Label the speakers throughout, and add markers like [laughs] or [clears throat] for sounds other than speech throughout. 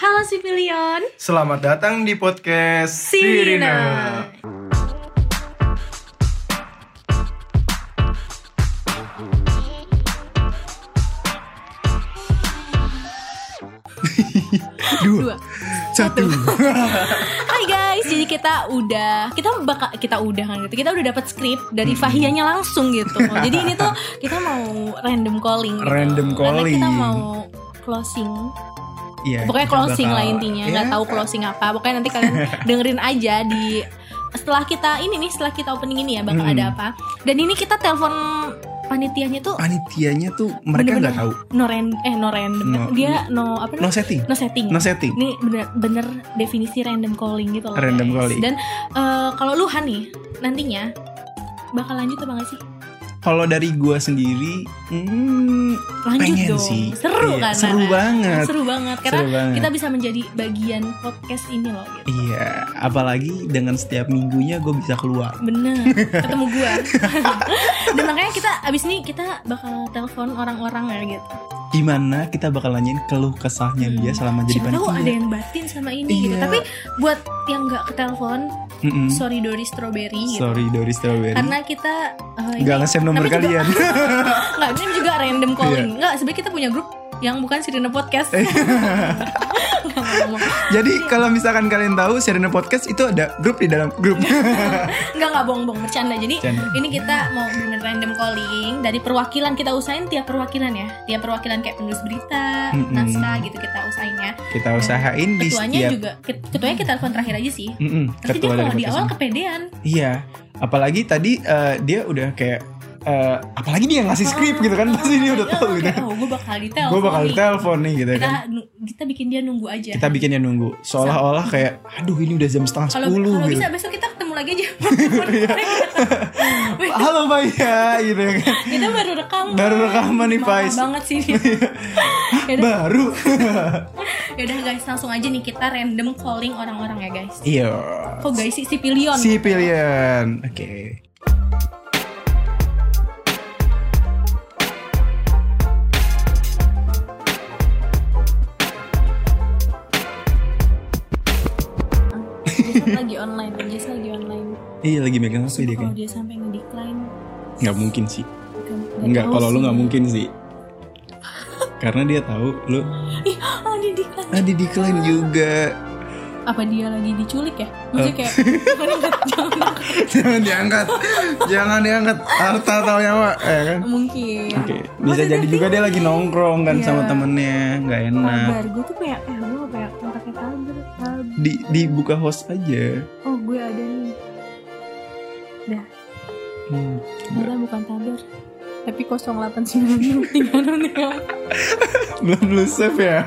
Speaker 1: Halo Sipilion
Speaker 2: Selamat datang di podcast Sirina.
Speaker 1: Dua
Speaker 2: Satu.
Speaker 1: Hai guys, jadi kita udah Kita bakal, kita udah kan gitu Kita udah dapat skrip
Speaker 2: Hmm.
Speaker 1: dari Fahianya langsung
Speaker 2: [laughs]
Speaker 1: gitu Jadi ini tuh kita mau random calling gitu.
Speaker 2: Random
Speaker 1: Karena
Speaker 2: calling.
Speaker 1: kita mau closing
Speaker 2: [laughs] Iya.
Speaker 1: Pokoknya
Speaker 2: kita
Speaker 1: closing
Speaker 2: bakal-
Speaker 1: lah intinya nggak
Speaker 2: Ya,
Speaker 1: tahu closing apa Pokoknya nanti
Speaker 2: [laughs]
Speaker 1: kalian dengerin aja di Setelah kita ini nih Setelah kita opening ini ya Bakal
Speaker 2: Mm.
Speaker 1: ada apa Dan ini kita telepon panitianya tuh
Speaker 2: Panitianya tuh
Speaker 1: Bener-bener
Speaker 2: mereka nggak tahu.
Speaker 1: no ran- eh no random
Speaker 2: No-
Speaker 1: dia no apa
Speaker 2: No
Speaker 1: namanya
Speaker 2: setting.
Speaker 1: no, setting
Speaker 2: No setting.
Speaker 1: ini bener bener definisi random calling gitu loh
Speaker 2: Random
Speaker 1: guys.
Speaker 2: calling.
Speaker 1: dan eh, kalau lu Han nih nantinya bakal lanjut apa nggak sih
Speaker 2: Kalau dari gua sendiri, hmm,
Speaker 1: lanjut
Speaker 2: pengen
Speaker 1: dong
Speaker 2: sih.
Speaker 1: seru
Speaker 2: Iya,
Speaker 1: kan
Speaker 2: Seru
Speaker 1: Nana?
Speaker 2: banget.
Speaker 1: seru banget karena
Speaker 2: seru banget.
Speaker 1: kita bisa menjadi bagian podcast ini loh gitu.
Speaker 2: Iya, apalagi dengan setiap minggunya gue bisa keluar.
Speaker 1: bener ketemu
Speaker 2: [laughs]
Speaker 1: gua dan makanya kita abis ini kita bakal telepon orang-orang ya gitu
Speaker 2: Gimana kita bakal nanyain keluh kesahnya
Speaker 1: Hmm.
Speaker 2: dia selama jadi
Speaker 1: siapa tahu ada
Speaker 2: panitia.
Speaker 1: yang batin sama ini gitu
Speaker 2: Iya.
Speaker 1: tapi buat yang nggak ketelepon
Speaker 2: Mm-mm.
Speaker 1: sorry Dori Strawberry gitu
Speaker 2: Sorry Doris Strawberry.
Speaker 1: karena kita eh, ini
Speaker 2: Gak nge-save nomor
Speaker 1: Tapi juga-
Speaker 2: kalian.
Speaker 1: nggak ini juga random calling nggak sebenarnya kita punya grup yang bukan Sirine Podcast Nggak ngomong.
Speaker 2: Jadi kalau misalkan kalian tahu Serena Podcast itu ada grup di dalam
Speaker 1: [laughs]
Speaker 2: grup.
Speaker 1: nggak nggak bohong-bohong bercanda jadi
Speaker 2: Bercanda.
Speaker 1: ini kita mau bener random calling dari perwakilan kita usahain tiap perwakilan ya tiap perwakilan kayak penulis berita
Speaker 2: Mm-mm.
Speaker 1: naskah gitu kita usahain ya
Speaker 2: Kita usahain di
Speaker 1: ketuanya
Speaker 2: setiap
Speaker 1: juga ket- ketuanya kita telepon terakhir aja sih
Speaker 2: Mm-mm,
Speaker 1: Nanti dia
Speaker 2: ketua
Speaker 1: kalau
Speaker 2: dari
Speaker 1: di
Speaker 2: podcast
Speaker 1: awal
Speaker 2: ini.
Speaker 1: kepedean
Speaker 2: Iya, apalagi tadi eh, dia udah kayak eh, apalagi dia yang ngasih skrip gitu kan pasti dia udah tahu gitu.
Speaker 1: oh, gue bakal ditelepon
Speaker 2: Gue bakal
Speaker 1: nih.
Speaker 2: telepon nih gitu
Speaker 1: kita
Speaker 2: kan.
Speaker 1: kita bikin dia nunggu aja
Speaker 2: Kita bikinnya nunggu. Seolah-olah kayak aduh ini udah jam setengah
Speaker 1: kalau
Speaker 2: sepuluh
Speaker 1: kalau
Speaker 2: gitu.
Speaker 1: bisa besok kita ketemu lagi aja
Speaker 2: Halo Pak [laughs] ya gitu kan.
Speaker 1: kita baru rekam
Speaker 2: Baru rekaman nih,
Speaker 1: Parah
Speaker 2: Faiz.
Speaker 1: banget
Speaker 2: [laughs]
Speaker 1: sih Ya dia. Yaudah,
Speaker 2: Baru. [laughs]
Speaker 1: yaudah Ya guys langsung aja nih kita random calling orang-orang ya guys
Speaker 2: Iya.
Speaker 1: kok guys sih si pilion
Speaker 2: Si Pilihan. Oke.
Speaker 1: Dia kan lagi online dia kan lagi online
Speaker 2: Iya lagi megang HP dia
Speaker 1: kalau
Speaker 2: kan.
Speaker 1: dia sampai ngedecline
Speaker 2: Nggak mungkin sih.
Speaker 1: bukan- nggak
Speaker 2: Enggak,
Speaker 1: tahu
Speaker 2: kalau lu
Speaker 1: sih.
Speaker 2: nggak mungkin sih. Karena dia tahu lu
Speaker 1: ih ah dia decline
Speaker 2: ah di decline juga. [laughs]
Speaker 1: apa dia lagi diculik ya maksudnya
Speaker 2: Eh.
Speaker 1: [laughs] kayak jangan
Speaker 2: Jangan diangkat. Jangan diangkat. Harta atau nyawa, ya kan?
Speaker 1: mungkin
Speaker 2: Oke, bisa jadi juga dia lagi nongkrong kan
Speaker 1: Iya.
Speaker 2: sama temennya, nggak enak.
Speaker 1: kabar gue tuh kayak eh gue kayak kontaknya kabar kabar.
Speaker 2: Di dibuka host aja.
Speaker 1: oh gue ada nih
Speaker 2: Hmm.
Speaker 1: Ternyata bukan tabar Tapi 0896 366.
Speaker 2: Belum lu save ya?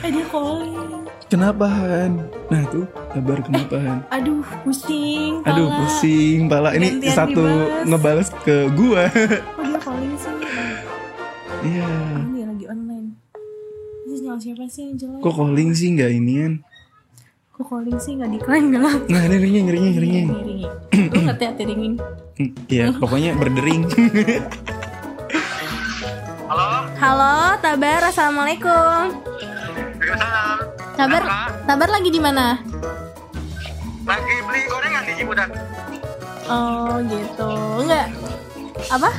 Speaker 1: Eh dia calling
Speaker 2: Kenapa Han? Nah tuh, kabar kenapa Han?
Speaker 1: Aduh pusing pala.
Speaker 2: Aduh pusing pala ini
Speaker 1: Gantian
Speaker 2: satu
Speaker 1: dibales.
Speaker 2: ngebales ke gua.
Speaker 1: Kok dia calling sih
Speaker 2: Iya.
Speaker 1: Ini dia lagi online Terus nyawa siapa sih yang jelek
Speaker 2: Kok calling sih nggak inian?
Speaker 1: Kok calling sih gak decline gak lah
Speaker 2: Nah, ini ringing, ringing, ringing.
Speaker 1: Ringing Lu ngerti hati ringing
Speaker 2: Hmm, Iya, pokoknya berdering.
Speaker 1: Halo Tabar Assalamualaikum
Speaker 3: Waalaikumsalam.
Speaker 1: Tabar Tabar lagi di mana?
Speaker 3: Lagi beli gorengan di Ciputat.
Speaker 1: Oh gitu Enggak Apa?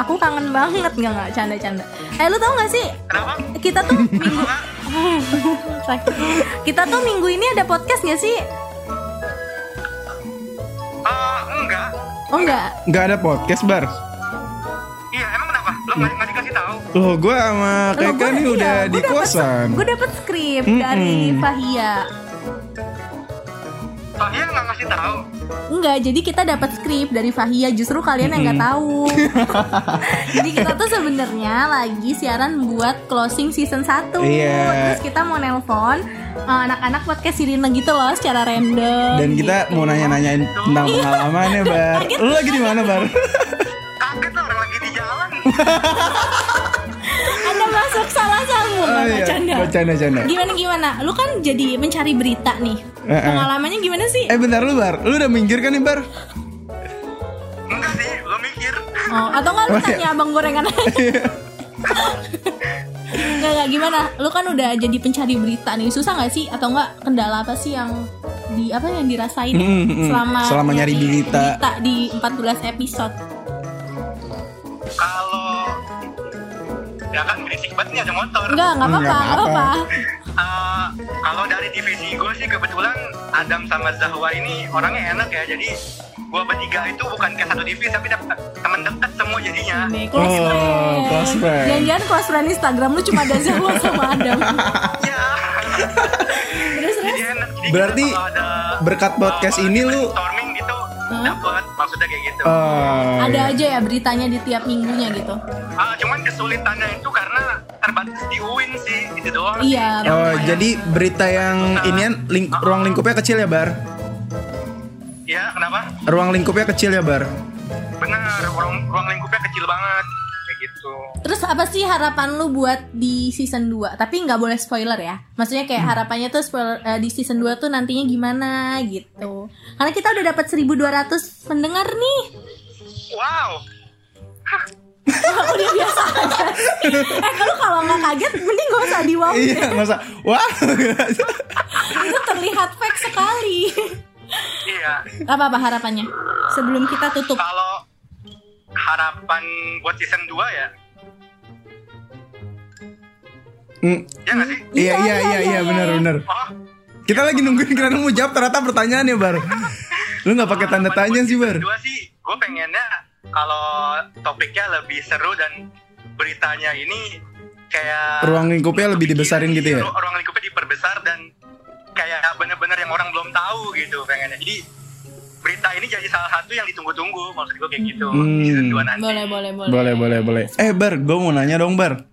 Speaker 1: Aku kangen banget Enggak enggak canda-canda Eh lu tau gak sih
Speaker 3: Kenapa?
Speaker 1: Kita
Speaker 3: [laughs]
Speaker 1: tuh minggu [laughs] Sakit. Kita tuh minggu ini ada podcast gak sih?
Speaker 3: Eh, enggak.
Speaker 1: Oh enggak
Speaker 2: Nggak ada podcast bar.
Speaker 3: Iya, emang kenapa? Lo nggak nggak dikasih tahu?
Speaker 2: Loh, gue sama Keka nih
Speaker 1: iya,
Speaker 2: udah di kosan.
Speaker 1: Gue dapet skrip
Speaker 2: Mm-mm.
Speaker 1: dari Fahia
Speaker 3: Fahia nggak ngasih tahu.
Speaker 1: Enggak, jadi kita dapat skrip dari Fahia Justru kalian yang nggak
Speaker 2: [laughs]
Speaker 1: tahu Jadi kita tuh sebenarnya lagi siaran buat closing season 1
Speaker 2: Iya.
Speaker 1: Terus kita mau nelpon eh, anak-anak podcast Sirina gitu loh secara random
Speaker 2: Dan kita
Speaker 1: gitu.
Speaker 2: mau nanya-nanyain tentang pengalamannya bar. Lu lagi di mana bar?
Speaker 3: Kaget lah orang lagi di jalan.
Speaker 1: Anda masuk salah sambung
Speaker 2: [laughs] Oh,
Speaker 1: Bapak
Speaker 2: iya.
Speaker 1: Canda.
Speaker 2: Bercanda, canda.
Speaker 1: Gimana gimana? Lu kan jadi mencari berita nih.
Speaker 2: Heeh.
Speaker 1: Pengalamannya gimana sih?
Speaker 2: Eh bentar lu bar, lu udah minggir kan nih bar?
Speaker 3: Enggak sih, lo mikir.
Speaker 1: Oh, atau nggak lu
Speaker 2: Oh, [laughs] iya.
Speaker 1: tanya abang gorengan aja? [laughs] nggak nggak gimana lu kan udah jadi pencari berita nih susah nggak sih atau nggak kendala apa sih yang di apa yang dirasain
Speaker 2: Mm, mm, mm.
Speaker 1: selama
Speaker 2: Selama nyari berita.
Speaker 1: berita di 14 episode
Speaker 3: Kalau ya kan berisik banget nih ada motor.
Speaker 1: nggak nggak apa-apa
Speaker 2: Nggak
Speaker 1: nggak
Speaker 2: apa-apa.
Speaker 1: apa
Speaker 3: Eh, kalau dari divisi gue sih kebetulan Adam sama Zahwa ini orangnya enak ya. Jadi gue bertiga itu bukan kayak satu divisi tapi dapet temen deket semua jadinya.
Speaker 1: Nih, close
Speaker 2: Oh,
Speaker 1: friend.
Speaker 2: close friend.
Speaker 1: Jangan-jangan close friend Instagram lu cuma ada Zahwa sama Adam.
Speaker 2: [laughs]
Speaker 3: Ya.
Speaker 1: Terus terus.
Speaker 3: Jadi enak. Jadi kita
Speaker 2: Berarti
Speaker 3: kalau ada,
Speaker 2: berkat podcast
Speaker 3: eh,
Speaker 2: ini lu-
Speaker 3: brainstorming gitu
Speaker 1: Hah?
Speaker 3: dapet maksudnya kayak gitu.
Speaker 2: Oh,
Speaker 1: Ada
Speaker 2: iya.
Speaker 1: aja ya beritanya di tiap minggunya gitu.
Speaker 3: Ah, cuman kesulitannya itu karena terbatas di UIN sih, itu doang.
Speaker 1: Iya.
Speaker 2: Oh, jadi berita yang inian ling- ruang lingkupnya kecil ya, Bar?
Speaker 3: Iya, kenapa?
Speaker 2: Ruang lingkupnya kecil ya, Bar?
Speaker 3: Benar, ruang, ruang lingkupnya kecil banget kayak gitu.
Speaker 1: Terus apa sih harapan lu buat di season 2? Tapi nggak boleh spoiler ya. Maksudnya kayak harapannya tuh spoiler eh, di season 2 tuh nantinya gimana gitu. Karena kita udah dapat 1200 pendengar nih.
Speaker 3: Wow,
Speaker 1: Wah, udah biasa aja. sih. eh, kalau kalau nggak kaget mending gak usah di wow.
Speaker 2: Iya, masa? Wah. [laughs]
Speaker 1: Itu terlihat fake sekali.
Speaker 3: iya.
Speaker 1: apa apa harapannya? Sebelum kita tutup.
Speaker 3: Kalau harapan buat season 2 ya,
Speaker 2: Mm,
Speaker 3: ya nggak sih?
Speaker 2: Iya, iya, iya, iya, benar, benar.
Speaker 3: Oh,
Speaker 2: Kita lagi nungguin kira mau jawab ternyata pertanyaannya, Bar. Lu nggak pakai tanda tanya sih, Bar.
Speaker 3: Dua sih, gue pengennya kalau topiknya lebih seru dan beritanya ini kayak
Speaker 2: Ruang lingkupnya lebih dibesarin gitu ya?
Speaker 3: Ru- Ruang lingkupnya diperbesar dan kayak bener-bener yang orang belum tahu gitu pengennya. Jadi berita ini jadi salah satu yang ditunggu-tunggu maksud gue kayak gitu.
Speaker 2: Hmm.
Speaker 3: Season dua nanti.
Speaker 1: Boleh, boleh, boleh.
Speaker 2: Boleh, boleh, boleh. Eh, Bar, gue mau nanya dong, Bar.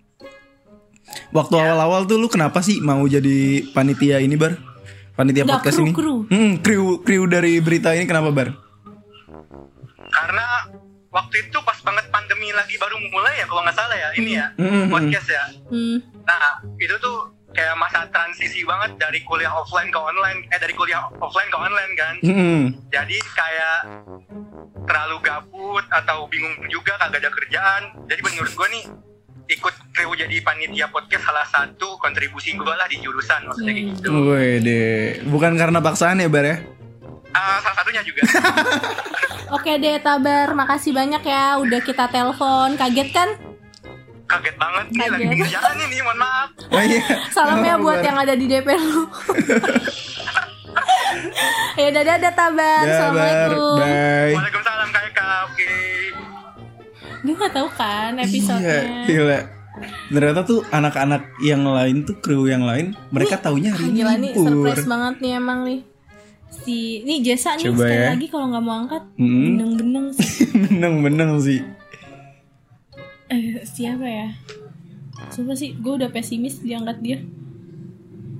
Speaker 2: Waktu
Speaker 1: Ya.
Speaker 2: awal-awal tuh lu kenapa sih mau jadi panitia ini, Bar? Panitia
Speaker 1: Nggak,
Speaker 2: podcast
Speaker 1: kru,
Speaker 2: ini?
Speaker 1: kru.
Speaker 2: Hmm, kru, kru dari berita ini kenapa, Bar?
Speaker 3: Karena waktu itu pas banget pandemi lagi baru mulai ya kalau nggak salah ya ini ya
Speaker 2: Hmm, hmm,
Speaker 3: podcast ya.
Speaker 1: Hmm.
Speaker 3: Nah, itu tuh kayak masa transisi banget dari kuliah offline ke online, eh dari kuliah offline ke online kan.
Speaker 2: Hmm.
Speaker 3: Jadi kayak terlalu gabut atau bingung juga kagak ada kerjaan. Jadi menurut gue nih ikut crew jadi panitia podcast salah satu kontribusi gue lah di jurusan maksudnya kayak gitu.
Speaker 2: Wede, bukan karena paksaan ya, Bar
Speaker 1: [laughs]
Speaker 2: ya?
Speaker 3: Ah, salah satunya juga.
Speaker 1: Oke deh Tabar, makasih banyak ya udah kita telepon. Kaget kan?
Speaker 3: Kaget banget nih lagi
Speaker 1: Kaget.
Speaker 3: kerjaan ini, mohon maaf.
Speaker 2: Oh, iya.
Speaker 1: Salam ya buat yang ada di DP lu. ya dadah dadah Tabar.
Speaker 2: Ya, Bar.
Speaker 1: Assalamualaikum.
Speaker 2: Bye.
Speaker 3: Waalaikumsalam Kak Eka. Oke.
Speaker 1: Dia nggak tahu kan episodenya.
Speaker 2: Iya, gila. Ternyata tuh anak-anak yang lain tuh kru yang lain, mereka taunya
Speaker 1: Ah,
Speaker 2: hari
Speaker 1: gila nih
Speaker 2: libur.
Speaker 1: surprise
Speaker 2: [laughs]
Speaker 1: banget nih emang nih. Si nih Jesa nih
Speaker 2: Coba
Speaker 1: sekali
Speaker 2: ya. Mm-hmm.
Speaker 1: lagi kalau nggak mau angkat
Speaker 2: Mm-mm.
Speaker 1: beneng-beneng sih.
Speaker 2: Beneng-beneng sih.
Speaker 1: Eh, siapa ya? Sumpah sih, gue udah pesimis diangkat dia.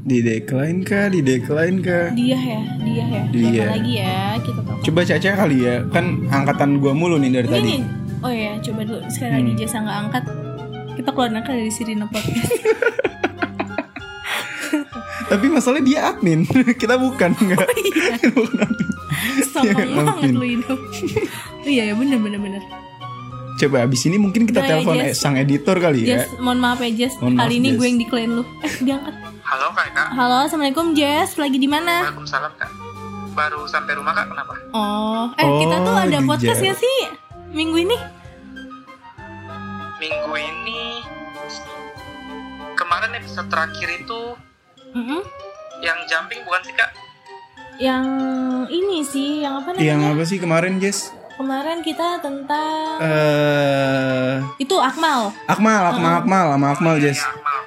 Speaker 2: Di decline kah? Di decline kah?
Speaker 1: Dia ya, dia ya.
Speaker 2: Dia.
Speaker 1: Siapa lagi ya? Kita tahu.
Speaker 2: Coba Caca kali ya, kan angkatan gua mulu nih dari
Speaker 1: Ini
Speaker 2: tadi. Hmm.
Speaker 1: nih. Oh ya, coba dulu sekali lagi jasa nggak angkat. Kita keluar angkat dari Sirina Podcast.
Speaker 2: Tapi masalahnya dia admin, [laughs] kita bukan
Speaker 1: Oh,
Speaker 2: enggak.
Speaker 1: iya.
Speaker 2: Bukan admin.
Speaker 1: Sombong
Speaker 2: Iya,
Speaker 1: banget
Speaker 2: maafin.
Speaker 1: lu itu. Iya ya bener bener bener.
Speaker 2: [laughs] Coba abis ini mungkin kita
Speaker 1: Nah, ya,
Speaker 2: telepon
Speaker 1: Jess.
Speaker 2: eh, sang editor kali ya.
Speaker 1: Jess, mohon maaf ya Jess.
Speaker 2: Mohon
Speaker 1: Kali
Speaker 2: maaf,
Speaker 1: ini
Speaker 2: Jess.
Speaker 1: gue yang decline lu. Eh diangkat.
Speaker 3: Halo Kak Eka.
Speaker 1: Halo, assalamualaikum Jess. Lagi di mana?
Speaker 3: Waalaikumsalam Kak. Baru sampai rumah Kak, kenapa?
Speaker 1: Oh, eh kita tuh
Speaker 2: Oh,
Speaker 1: ada
Speaker 2: di
Speaker 1: podcast
Speaker 2: Jess.
Speaker 1: gak sih minggu ini?
Speaker 3: Minggu ini kemarin episode terakhir itu
Speaker 1: Mm-mm.
Speaker 3: yang jumping bukan sih Kak?
Speaker 1: Yang ini sih, yang apa
Speaker 2: Yang
Speaker 1: namanya?
Speaker 2: apa sih kemarin, Jess?
Speaker 1: Kemarin kita tentang
Speaker 2: Eh,
Speaker 1: itu Akmal.
Speaker 2: Akmal, Akmal,
Speaker 1: Ah.
Speaker 2: Akmal, sama Akmal,
Speaker 3: Iya.
Speaker 2: Jess.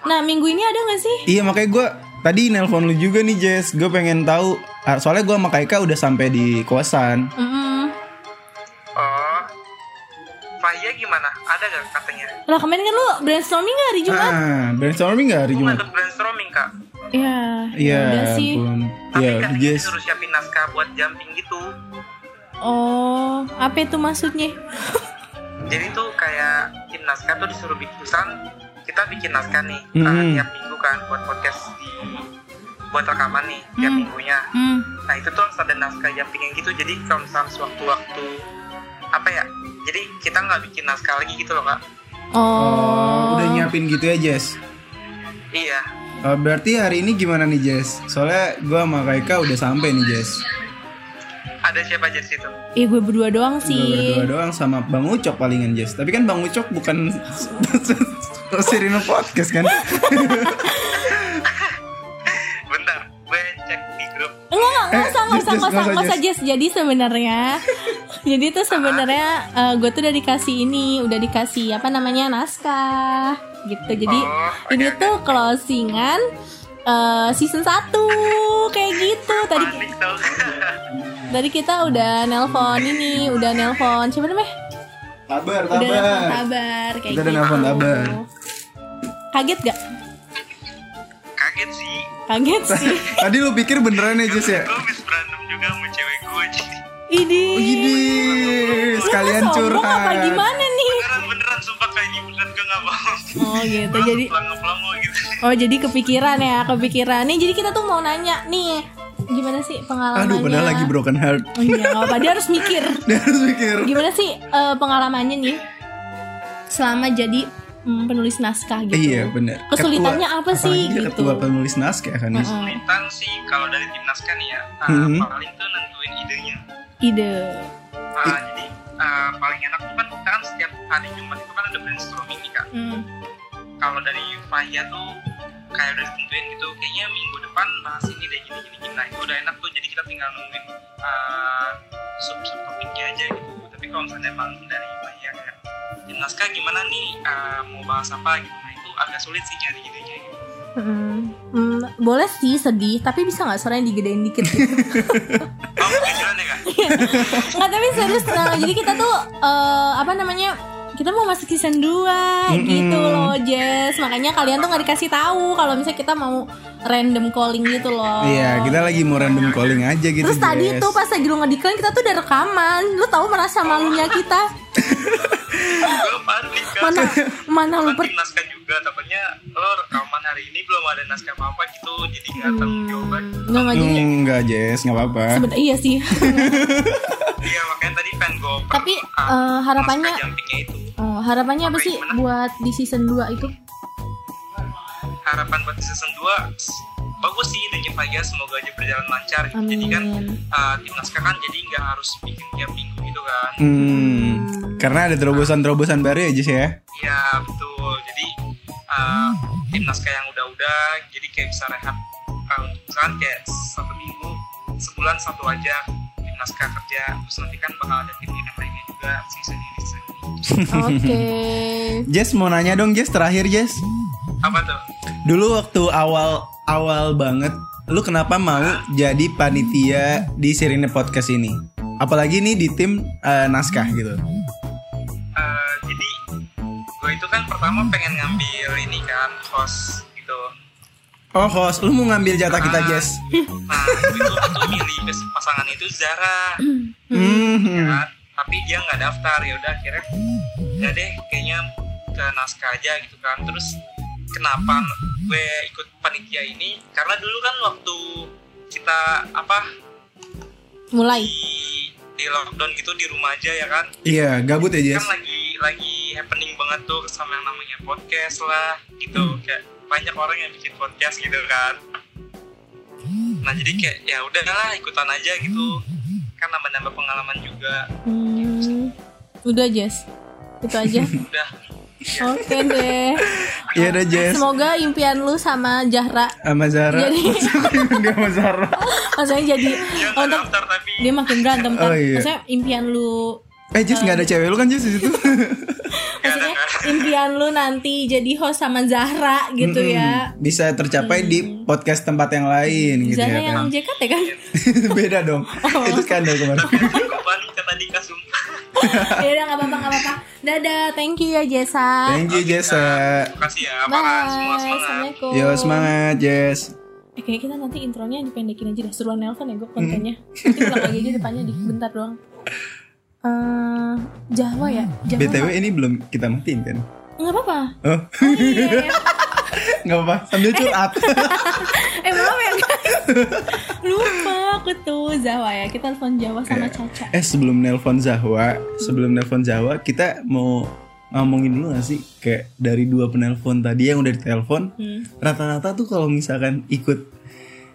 Speaker 1: Nah minggu ini ada gak sih?
Speaker 2: Iya makanya gue tadi nelpon lu juga nih Jess Gue pengen tahu ah, Soalnya gue sama Kaika udah sampai di kosan
Speaker 1: Mm-mm.
Speaker 3: Oh. Fahia gimana? Ada gak katanya?
Speaker 1: Lah kemarin kan lu brainstorming gak hari Jumat?
Speaker 2: Ah, brainstorming gak hari
Speaker 3: Gue
Speaker 2: Jumat?
Speaker 3: ikut brainstorming kak
Speaker 1: Iya,
Speaker 2: Iya,
Speaker 1: udah sih. kan
Speaker 2: belum.
Speaker 3: Tapi
Speaker 2: Iya,
Speaker 3: kak
Speaker 2: Jess.
Speaker 3: disuruh siapin naskah buat jumping gitu
Speaker 1: Oh, apa itu maksudnya?
Speaker 3: Jadi tuh kayak tim naskah tuh disuruh bikin misalkan Kita bikin naskah nih
Speaker 2: Mhm.
Speaker 3: uh, Tiap minggu kan buat podcast di Buat rekaman nih tiap
Speaker 1: Hmm.
Speaker 3: minggunya
Speaker 1: Hmm.
Speaker 3: Nah itu tuh harus ada naskah jumping yang gitu Jadi kalau misalkan sewaktu-waktu Apa ya jadi kita nggak bikin naskah lagi gitu loh kak
Speaker 1: Oh,
Speaker 2: Oh, udah nyiapin gitu ya Jess
Speaker 3: Iya.
Speaker 2: Eh, berarti hari ini gimana nih Jess? Soalnya gue sama Kaika udah sampai nih Jess.
Speaker 3: Ada siapa aja di situ?
Speaker 1: Iya gue berdua doang
Speaker 2: Udah
Speaker 1: sih.
Speaker 2: berdua doang sama Bang Ucok palingan Jess. Tapi kan Bang Ucok bukan [laughs] Sirino podcast kan?
Speaker 3: Bentar, gue cek di grup.
Speaker 1: Enggak, enggak, enggak
Speaker 2: Eh,
Speaker 1: usah, enggak usah,
Speaker 2: Jess,
Speaker 1: enggak usah,
Speaker 2: nggak usah,
Speaker 1: nggak usah, Jess. Jadi sebenarnya, [laughs] jadi tuh sebenarnya eh, gue tuh udah dikasih ini, udah dikasih apa namanya naskah gitu. Jadi
Speaker 3: Oh, oke,
Speaker 1: ini
Speaker 2: iya,
Speaker 3: oke.
Speaker 1: tuh closingan eh, season 1 kayak gitu. Tadi
Speaker 3: Panik dong.
Speaker 1: tadi kita udah nelpon ini, udah nelpon siapa namanya?
Speaker 2: Tabar,
Speaker 1: Udah nelpon
Speaker 2: tabar.
Speaker 1: kabar kayak
Speaker 2: Kita udah
Speaker 1: gitu.
Speaker 2: nelpon kabar.
Speaker 1: Kaget gak?
Speaker 3: [laughs] Kaget sih.
Speaker 1: Kaget
Speaker 2: [laughs]
Speaker 1: sih.
Speaker 2: Tadi lu pikir beneran ya Jess ya?
Speaker 3: Gue habis berantem juga sama cewek gue. jadi
Speaker 1: Ini.
Speaker 2: Oh, Gini,
Speaker 1: Iya,
Speaker 2: sekalian
Speaker 1: sombong apa
Speaker 2: curhat.
Speaker 1: gimana nih?
Speaker 3: Beneran beneran sumpah kayak gini beneran gue nggak bohong.
Speaker 1: Oh gitu. Jadi
Speaker 3: pelang gitu.
Speaker 1: Oh jadi kepikiran ya kepikiran nih jadi kita tuh mau nanya nih gimana sih pengalamannya?
Speaker 2: Aduh, padahal lagi broken heart. [laughs]
Speaker 1: Oh iya nggak apa dia harus mikir
Speaker 2: Dia harus mikir.
Speaker 1: gimana sih eh, pengalamannya nih selama jadi mm, penulis naskah gitu.
Speaker 2: Iya bener
Speaker 1: Kesulitannya
Speaker 2: Ketua-
Speaker 1: apa sih,
Speaker 2: apalagi dia
Speaker 1: gitu?
Speaker 2: Ketua penulis naskah kan Nis?
Speaker 1: Heeh.
Speaker 3: Kesulitan sih kalau dari timnas kan ya, ah,
Speaker 2: Mhm.
Speaker 3: paling tuh nentuin idenya.
Speaker 1: Ide.
Speaker 3: Ah, jadi ah, paling enak tuh kan kita kan setiap hari Jumat itu kan ada brainstorming nih kak.
Speaker 1: Hmm.
Speaker 3: Kalau dari Faya tuh kayak udah ditentuin gitu, kayaknya minggu depan bahas ini deh gini gini gini. Nah itu udah enak tuh, jadi kita tinggal nungguin sub sub topiknya aja gitu. Tapi kalau misalnya emang dari Faya kan, timnas kan gimana nih ah, mau bahas apa gitu. Nah itu agak sulit sih nyari idenya. Gitu.
Speaker 1: Mm-mm. Mm, boleh sih sedih tapi bisa nggak suaranya digedein dikit
Speaker 2: [laughs]
Speaker 3: Kamu kejuran ya kak?
Speaker 1: Iya. nggak tapi serius nah, jadi kita tuh eh, apa namanya kita mau masuk season 2 gitu loh Jess makanya kalian tuh nggak dikasih tahu kalau misalnya kita mau random calling gitu loh
Speaker 2: Iya kita lagi mau random calling aja gitu
Speaker 1: Terus tadi
Speaker 2: Jess.
Speaker 1: tuh pas lagi lu ngediklan kita tuh udah rekaman Lu tahu merasa malunya kita
Speaker 3: Gue panik kak.
Speaker 1: Mana mana lu
Speaker 3: Kan
Speaker 1: per
Speaker 3: bikin naskah juga takutnya lo rekaman hari ini belum ada naskah apa apa gitu jadi nggak
Speaker 1: Hmm.
Speaker 3: tanggung jawab
Speaker 1: Nggak nggak jadi
Speaker 2: Hmm, Enggak Jess nggak apa-apa
Speaker 1: Sebentar, iya sih [laughs]
Speaker 3: iya makanya tadi pengen gue oper
Speaker 1: Tapi
Speaker 3: ah,
Speaker 1: eh, harapannya
Speaker 3: naskah jumpingnya itu
Speaker 1: eh, Harapannya apa sih buat di season 2
Speaker 2: [laughs]
Speaker 1: itu?
Speaker 3: harapan buat season 2 bagus sih idenya Fajar semoga aja berjalan lancar gitu. jadi kan
Speaker 1: Amin.
Speaker 3: eh, tim naskah kan jadi nggak harus bikin tiap minggu gitu kan
Speaker 2: Hmm, Karena ada terobosan-terobosan baru ya Jess ya
Speaker 3: iya betul jadi eh, tim naskah yang udah-udah jadi kayak bisa rehat eh, untuk misalkan kayak satu minggu sebulan satu aja tim naskah kerja terus nanti kan bakal ada tim yang lainnya juga season ini season ini
Speaker 1: Oke
Speaker 2: Jess mau nanya dong Jess terakhir Jess
Speaker 3: apa tuh
Speaker 2: Dulu waktu awal awal banget Lu kenapa mau jadi panitia di Sirine Podcast ini? Apalagi ini di tim eh, naskah gitu
Speaker 3: Eh, jadi gue itu kan pertama pengen ngambil ini kan host gitu
Speaker 2: Oh host, lu mau ngambil
Speaker 1: Ah.
Speaker 2: jatah kita Jess?
Speaker 3: nah gue itu waktu milih best pasangan itu Zara ya
Speaker 2: Hmm.
Speaker 3: kan tapi dia nggak daftar ya udah akhirnya ya deh kayaknya ke naskah aja gitu kan terus kenapa gue ikut panitia ini karena dulu kan waktu kita apa
Speaker 1: Mulai
Speaker 3: di di lockdown gitu di rumah aja ya kan
Speaker 2: Iya, gabut ya Jess.
Speaker 3: kan lagi lagi happening banget tuh sama yang namanya podcast lah gitu kayak banyak orang yang bikin podcast gitu kan nah jadi kayak ya udah lah ikutan aja gitu kan nambah-nambah pengalaman juga
Speaker 1: Hmm, Udah Jess Itu aja
Speaker 3: udah
Speaker 1: Oke deh Nah,
Speaker 2: Iya udah
Speaker 1: Kan
Speaker 2: Jess.
Speaker 1: Semoga impian lu sama Zahra
Speaker 2: sama Zara
Speaker 1: Jadi-
Speaker 2: dia [laughs] sama Zara
Speaker 1: Maksudnya jadi
Speaker 3: dia ya nggak
Speaker 1: untuk
Speaker 3: daftar tapi
Speaker 1: dia makin berantem kan
Speaker 2: Oh, iya.
Speaker 1: Maksudnya impian lu
Speaker 2: eh Jess nggak ada
Speaker 1: Ah.
Speaker 2: cewek lu kan Jess di situ
Speaker 1: Maksudnya impian lu nanti jadi host sama Zahra [laughs] gitu ya
Speaker 2: Mm-mm. Hmm. bisa tercapai di podcast tempat yang lain gitu
Speaker 1: Zahra
Speaker 2: ya
Speaker 1: yang Oh.
Speaker 2: kan [laughs]
Speaker 1: JKT kan
Speaker 2: beda dong itu skandal kemarin
Speaker 3: gue balik ke tadi kak sumpah
Speaker 1: ya udah nggak apa-apa nggak apa-apa dadah thank you ya Jessa
Speaker 2: thank you Jessa
Speaker 1: Iya.
Speaker 3: terima kasih ya
Speaker 1: bye
Speaker 3: para semua semangat
Speaker 1: assalamualaikum
Speaker 2: yo semangat Jess
Speaker 1: eh, kayak kita nanti intronya dipendekin aja dah seruan nelpon ya
Speaker 2: Mm.
Speaker 1: gue kontennya nanti ulang lagi aja depannya di bentar doang Eh, Jawa ya Jawa
Speaker 2: btw ini belum kita matiin kan
Speaker 1: nggak apa-apa
Speaker 2: oh [laughs]
Speaker 1: Oh, iya.
Speaker 2: nggak apa sambil curhat
Speaker 1: [laughs] eh maaf ya guys lupa aku tuh Jawa ya kita
Speaker 2: Iya.
Speaker 1: telepon Jawa sama Caca
Speaker 2: eh sebelum nelpon Zahwa sebelum nelpon Zahwa kita mau ngomongin dulu gak sih kayak dari dua penelpon tadi yang udah ditelepon
Speaker 1: Hmm.
Speaker 2: rata-rata tuh kalau misalkan ikut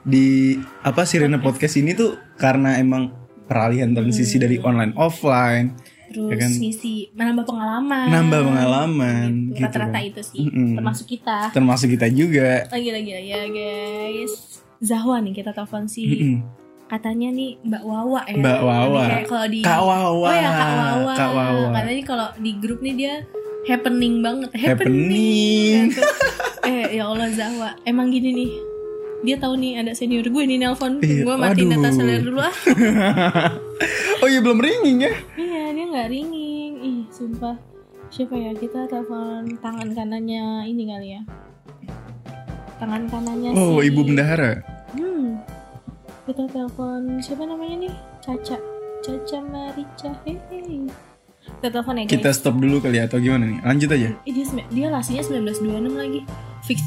Speaker 2: di apa Sirena podcast ini tuh karena emang peralihan transisi dari
Speaker 1: Hmm.
Speaker 2: online offline
Speaker 1: Terus
Speaker 2: Ya kan?
Speaker 1: ngisi menambah pengalaman.
Speaker 2: nambah pengalaman
Speaker 1: Gitu,
Speaker 2: gitu
Speaker 1: Rata-rata
Speaker 2: kan.
Speaker 1: itu sih
Speaker 2: Mm-mm.
Speaker 1: termasuk kita.
Speaker 2: termasuk kita juga
Speaker 1: Lagi-lagi ya guys. Zahwa nih kita telepon si
Speaker 2: Mm-mm.
Speaker 1: katanya nih Mbak Wawa ya.
Speaker 2: Mbak Wawa.
Speaker 1: Kayak kalau di
Speaker 2: Kak Wawa
Speaker 1: Oh ya Kak Wawa.
Speaker 2: Kak Wawa.
Speaker 1: Katanya kalau di grup nih dia happening banget.
Speaker 2: happening
Speaker 1: Iya, eh ya Allah Zahwa. Emang gini nih. Dia tahu nih ada senior gue nih nelpon.
Speaker 2: Iya,
Speaker 1: Gue matiin
Speaker 2: waduh.
Speaker 1: data seluler dulu ah.
Speaker 2: oh iya belum ringing ya
Speaker 1: Iya, dia nggak ringing. Ih, sumpah. Siapa ya? Kita telepon tangan kanannya ini kali ya. Tangan kanannya
Speaker 2: oh
Speaker 1: si-
Speaker 2: ibu bendahara
Speaker 1: Hmm. Kita telepon siapa namanya nih? Caca. Caca Marica. Hehe. Kita telepon ya, guys.
Speaker 2: kita stop dulu kali ya atau gimana nih lanjut aja
Speaker 1: Eh, dia, sembi- dia lasinya 1926 lagi. Fix.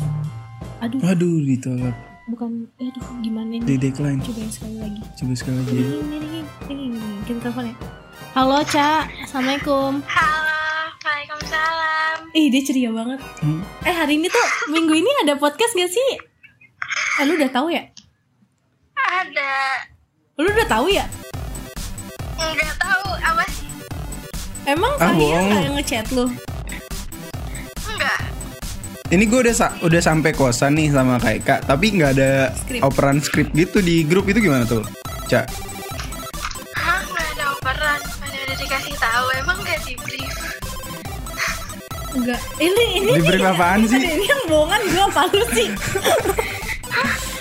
Speaker 1: Aduh,
Speaker 2: waduh ditolak
Speaker 1: bukan. Aduh, gimana
Speaker 2: di
Speaker 1: nih?
Speaker 2: decline
Speaker 1: Coba yang sekali lagi.
Speaker 2: coba sekali lagi
Speaker 1: Ding, ding, ding, ding, ding. Kita telepon ya. Halo, Ca. Assalamualaikum.
Speaker 4: Halo, Waalaikumsalam.
Speaker 1: Ih, dia ceria banget.
Speaker 2: Hmm.
Speaker 1: Eh hari
Speaker 4: [laughs]
Speaker 1: ini tuh minggu ini ada podcast gak sih? Eh, lu udah tahu ya?
Speaker 4: Ada
Speaker 1: Lu udah tahu ya?
Speaker 4: nggak tahu apa sih?
Speaker 1: Emang Fahia
Speaker 2: Ah, bohong.
Speaker 1: nggak ngechat lu?
Speaker 4: Enggak.
Speaker 2: ini gue udah sa- udah sampai kosan nih sama kak Eka tapi nggak ada
Speaker 1: Skrip.
Speaker 2: operan script gitu di grup itu gimana tuh cak
Speaker 4: Hah, nggak ada operan. Mana ada dikasih tahu? Emang nggak di brief?
Speaker 1: Enggak. Eh, Ini ini
Speaker 2: Di brief apaan
Speaker 1: ini-
Speaker 2: sih?
Speaker 1: Ini yang bohongan gua apa lu
Speaker 4: [laughs]
Speaker 1: sih?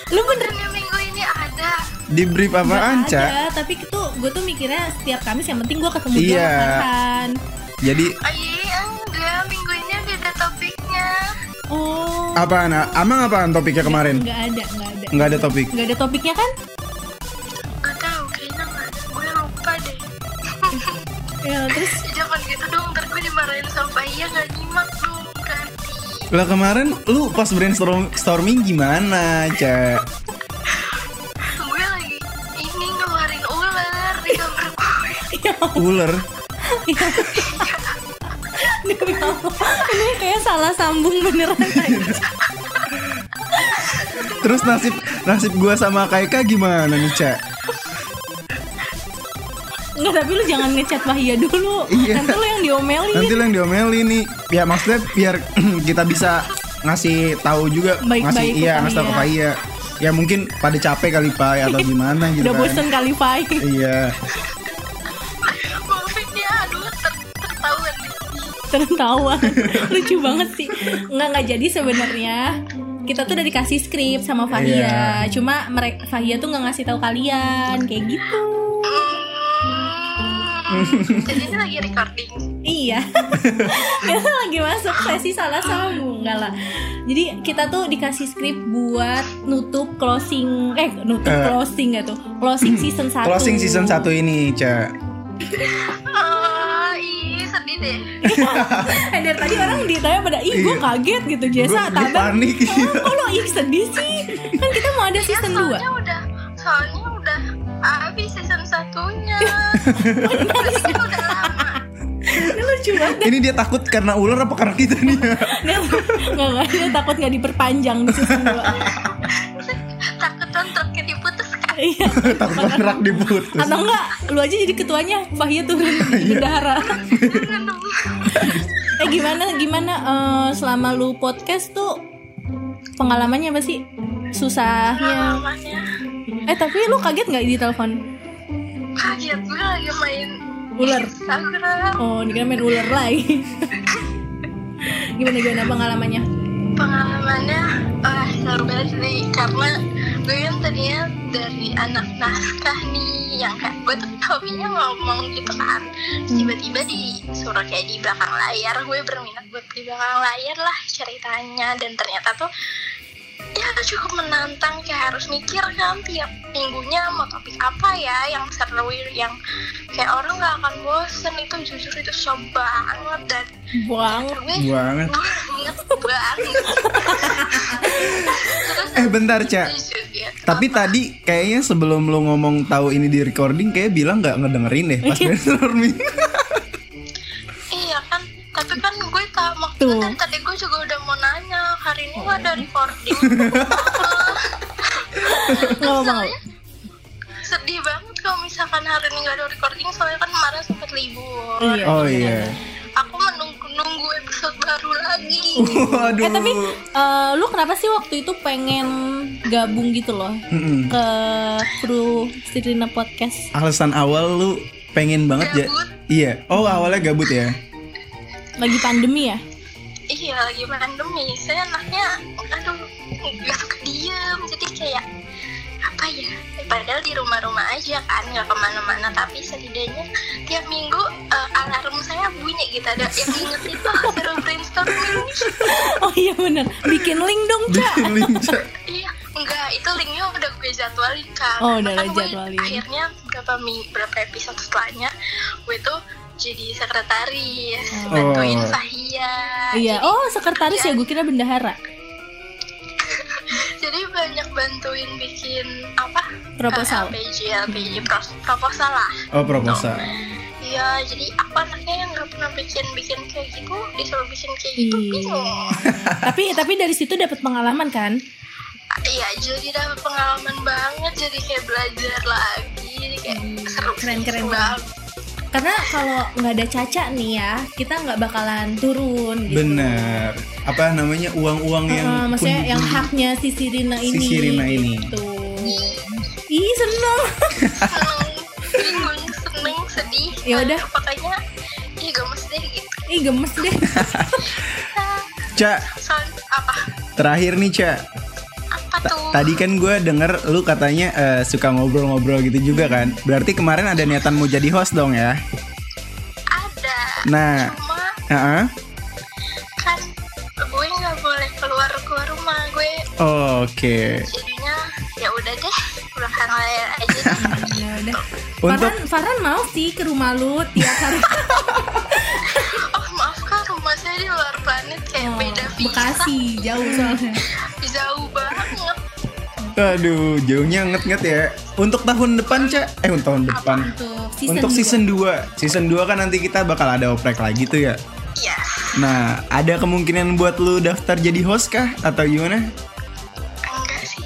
Speaker 1: lu bener
Speaker 4: Sebenarnya minggu ini ada.
Speaker 2: di brief apaan
Speaker 1: Nggak
Speaker 2: cak
Speaker 1: ada, tapi itu gue tuh mikirnya setiap Kamis yang penting gue ketemu
Speaker 2: Iya.
Speaker 1: dia makan.
Speaker 2: jadi
Speaker 4: Oh, iya, enggak. Minggu ini beda topiknya.
Speaker 1: Oh.
Speaker 2: apaan amang apaan topiknya kemarin
Speaker 1: Enggak ada, enggak ada.
Speaker 2: nggak ada topik
Speaker 1: Enggak ada topiknya kan?
Speaker 4: Nggak tahu. Kayaknya nggak ada. Gue lupa deh.
Speaker 1: Ya, terus
Speaker 4: Jangan gitu dong. Ntar gue dimarahin sama iya nggak nyimak dong. Berarti.
Speaker 2: lah kemarin lu pas brainstorm- storming gimana cak
Speaker 4: Gue lagi ini ngeluarin ular di kamar gue. [laughs]
Speaker 1: ya,
Speaker 2: ular
Speaker 1: Demi Allah, ini kayak salah sambung beneran tadi.
Speaker 2: terus nasib nasib gue sama kak Eka gimana nih cak
Speaker 1: Enggak, tapi lu jangan ngechat Mahia dulu.
Speaker 2: Iya.
Speaker 1: Nanti lu yang diomelin.
Speaker 2: nanti lu yang diomelin nih ya maksudnya biar [clears throat] kita bisa ngasih tahu juga
Speaker 1: Baik-baik
Speaker 2: ngasih
Speaker 1: ke
Speaker 2: iya
Speaker 1: Pak
Speaker 2: ngasih tahu ke
Speaker 1: Iya.
Speaker 2: Pak Iya ya mungkin pada capek kali Pak atau gimana gitu
Speaker 1: Udah
Speaker 2: kan.
Speaker 1: bosen kali Fai.
Speaker 2: iya
Speaker 4: Mungkin ya, aduh, ter- tertahuan nih.
Speaker 1: Tertawa. Lucu banget sih. Enggak enggak jadi sebenarnya. Kita tuh udah dikasih skrip sama Fahia.
Speaker 2: Iya.
Speaker 1: Cuma mereka Fahia tuh nggak ngasih tahu kalian kayak gitu.
Speaker 4: Hmm, Jadi ini lagi recording.
Speaker 2: [laughs]
Speaker 1: Iya. kita lagi masuk sesi salah sambung enggak lah. Jadi kita tuh dikasih skrip buat nutup closing eh nutup
Speaker 2: Eh.
Speaker 1: closing gak tuh?
Speaker 2: [clears throat]
Speaker 1: Closing season 1.
Speaker 2: closing season 1 ini cak
Speaker 4: Oh, ih sedih deh.
Speaker 1: [laughs] Eh, dari tadi orang ditanya pada ih gue
Speaker 2: Iya.
Speaker 1: kaget gitu Jesa
Speaker 2: Gua- gua
Speaker 1: tabang
Speaker 2: panik, [laughs] iya.
Speaker 1: kok lo ih sedih sih kan kita mau ada
Speaker 4: Ya,
Speaker 1: season 2
Speaker 4: soalnya udah, soalnya udah habis season
Speaker 1: [laughs]
Speaker 4: satunya. Terusnya udah lama. [laughs]
Speaker 1: ini lucu banget
Speaker 2: ini dia takut karena ular apa karena kita nih [laughs]
Speaker 1: nggak nggak dia takut nggak diperpanjang di season
Speaker 2: [laughs]
Speaker 1: 2
Speaker 4: Takut kontraknya diputuskan. Kan,
Speaker 1: iya
Speaker 2: takut kontrak diputus
Speaker 1: atau enggak lu aja jadi ketuanya Fahia
Speaker 2: Iya.
Speaker 1: turun di bendahara Iya. eh gimana gimana eh, selama lu podcast tuh pengalamannya apa sih susahnya
Speaker 4: Namanya
Speaker 1: eh tapi lu kaget nggak di telepon
Speaker 4: kaget gue lagi main
Speaker 1: ular
Speaker 4: Instagram.
Speaker 1: Oh, dikira main ular lagi. [laughs] gimana gimana pengalamannya?
Speaker 4: Pengalamannya wah seru banget sih karena gue kan tadinya dari anak naskah nih yang kayak gue tuh hobinya ngomong gitu kan Terus tiba-tiba disuruh kayak di belakang layar gue berminat buat di belakang layar lah ceritanya dan ternyata tuh ya cukup menantang kayak harus mikir kan tiap minggunya mau topik apa ya yang seru yang kayak orang nggak akan bosen itu jujur itu susah banget dan
Speaker 1: Buang.
Speaker 4: gue
Speaker 2: banget
Speaker 4: [laughs] banget banget terus
Speaker 2: eh bentar cak
Speaker 4: habis itu ya,
Speaker 2: tapi tadi kayaknya sebelum lu ngomong tahu ini di
Speaker 1: Iya. [laughs]
Speaker 2: recording kayak bilang nggak ngedengerin deh pas brainstorming
Speaker 4: iya kan tapi kan gue tak waktu
Speaker 1: Tuh.
Speaker 4: itu kan tadi gue juga udah mau nanya hari ini nggak ada recording [laughs]
Speaker 1: Nggak mau.
Speaker 4: sedih banget kalau misalkan hari ini nggak ada recording soalnya kan kemarin sempat libur
Speaker 1: Iya.
Speaker 2: Oh iya.
Speaker 4: aku menunggu nunggu episode baru lagi
Speaker 2: Oh. Waduh.
Speaker 1: Eh tapi eh, lu kenapa sih waktu itu pengen gabung gitu loh
Speaker 2: Mm-mm.
Speaker 1: ke kru Sirina Podcast?
Speaker 2: alasan awal lu pengen banget ya?
Speaker 4: Gabut.
Speaker 2: Iya. Oh awalnya gabut ya?
Speaker 1: Lagi pandemi ya?
Speaker 4: iya lagi pandemi saya anaknya aduh nggak suka diem jadi kayak apa ya padahal di rumah-rumah aja kan nggak kemana-mana tapi setidaknya tiap minggu eh, alarm saya bunyi gitu ada yang ngingetin
Speaker 1: [laughs]
Speaker 4: tuh hasil brainstorming
Speaker 1: Oh iya bener Bikin link dong Ca
Speaker 2: Bikin lincah.
Speaker 4: Iya, enggak, itu linknya udah gue jadwalin kan
Speaker 1: Oh, udah
Speaker 4: Bahkan
Speaker 1: ada
Speaker 4: gue
Speaker 1: jadwalin.
Speaker 4: Akhirnya berapa ming- berapa episode setelahnya Gue tuh jadi sekretaris
Speaker 2: Oh.
Speaker 4: Bantuin Sahia
Speaker 1: Iya
Speaker 4: jadi,
Speaker 1: Oh sekretaris ya gue kira bendahara
Speaker 4: jadi banyak bantuin bikin apa
Speaker 1: Proposal. Hmm.
Speaker 4: Eh, LPG, LPG, pros- proposal lah
Speaker 2: Oh proposal.
Speaker 4: Iya, jadi aku anaknya yang gak pernah bikin-bikin kayak gitu Disuruh bikin kayak gitu,
Speaker 1: Iya
Speaker 4: bingung
Speaker 1: Tapi tapi dari situ dapat pengalaman kan?
Speaker 4: Iya, jadi dapat pengalaman banget Jadi kayak belajar lagi Kayak seru sih,
Speaker 1: Keren-keren
Speaker 4: seru
Speaker 1: banget. Karena kalau nggak ada Caca nih ya Kita nggak bakalan turun gitu
Speaker 2: Bener. Apa namanya uang-uang yang
Speaker 1: Heeh, Eh, Maksudnya
Speaker 2: pun-
Speaker 1: yang haknya si Sirina
Speaker 2: Si
Speaker 1: ini
Speaker 2: Sirina ini.
Speaker 1: gitu. Ih seneng [laughs]
Speaker 4: seneng bingung seneng sedih
Speaker 1: [laughs] Ya udah.
Speaker 4: Nah, pokoknya ya gemes deh gitu
Speaker 1: Ih gemes deh
Speaker 4: Nah,
Speaker 2: Cak,
Speaker 4: soal apa
Speaker 2: terakhir nih Cak.
Speaker 4: apa
Speaker 2: Ta-
Speaker 4: tuh
Speaker 2: Tadi kan gue denger lu katanya eh, suka ngobrol-ngobrol gitu juga kan. Berarti kemarin ada niatan mau jadi host dong ya?
Speaker 4: ada
Speaker 2: Nah,
Speaker 4: cuma
Speaker 2: heeh.
Speaker 4: kan gue nggak boleh keluar keluar rumah gue
Speaker 2: Oke.
Speaker 4: jadinya ya udah deh belakang layar aja deh
Speaker 1: Ya udah
Speaker 2: Untuk
Speaker 1: Farhan, Farhan mau sih ke rumah lu tiap hari
Speaker 4: oh maaf kak rumah saya di luar planet kayak
Speaker 1: Oh,
Speaker 4: beda visa
Speaker 1: Bekasi jauh soalnya
Speaker 4: jauh banget
Speaker 2: Aduh, jauhnya nget-nget ya. Untuk tahun depan, Cak. Eh, untuk tahun depan.
Speaker 1: Untuk season
Speaker 2: untuk
Speaker 1: dua.
Speaker 2: season 2. Season 2 kan nanti kita bakal ada oprek lagi tuh ya.
Speaker 4: ya
Speaker 2: Nah, ada kemungkinan buat lu daftar jadi host kah atau gimana?
Speaker 4: enggak sih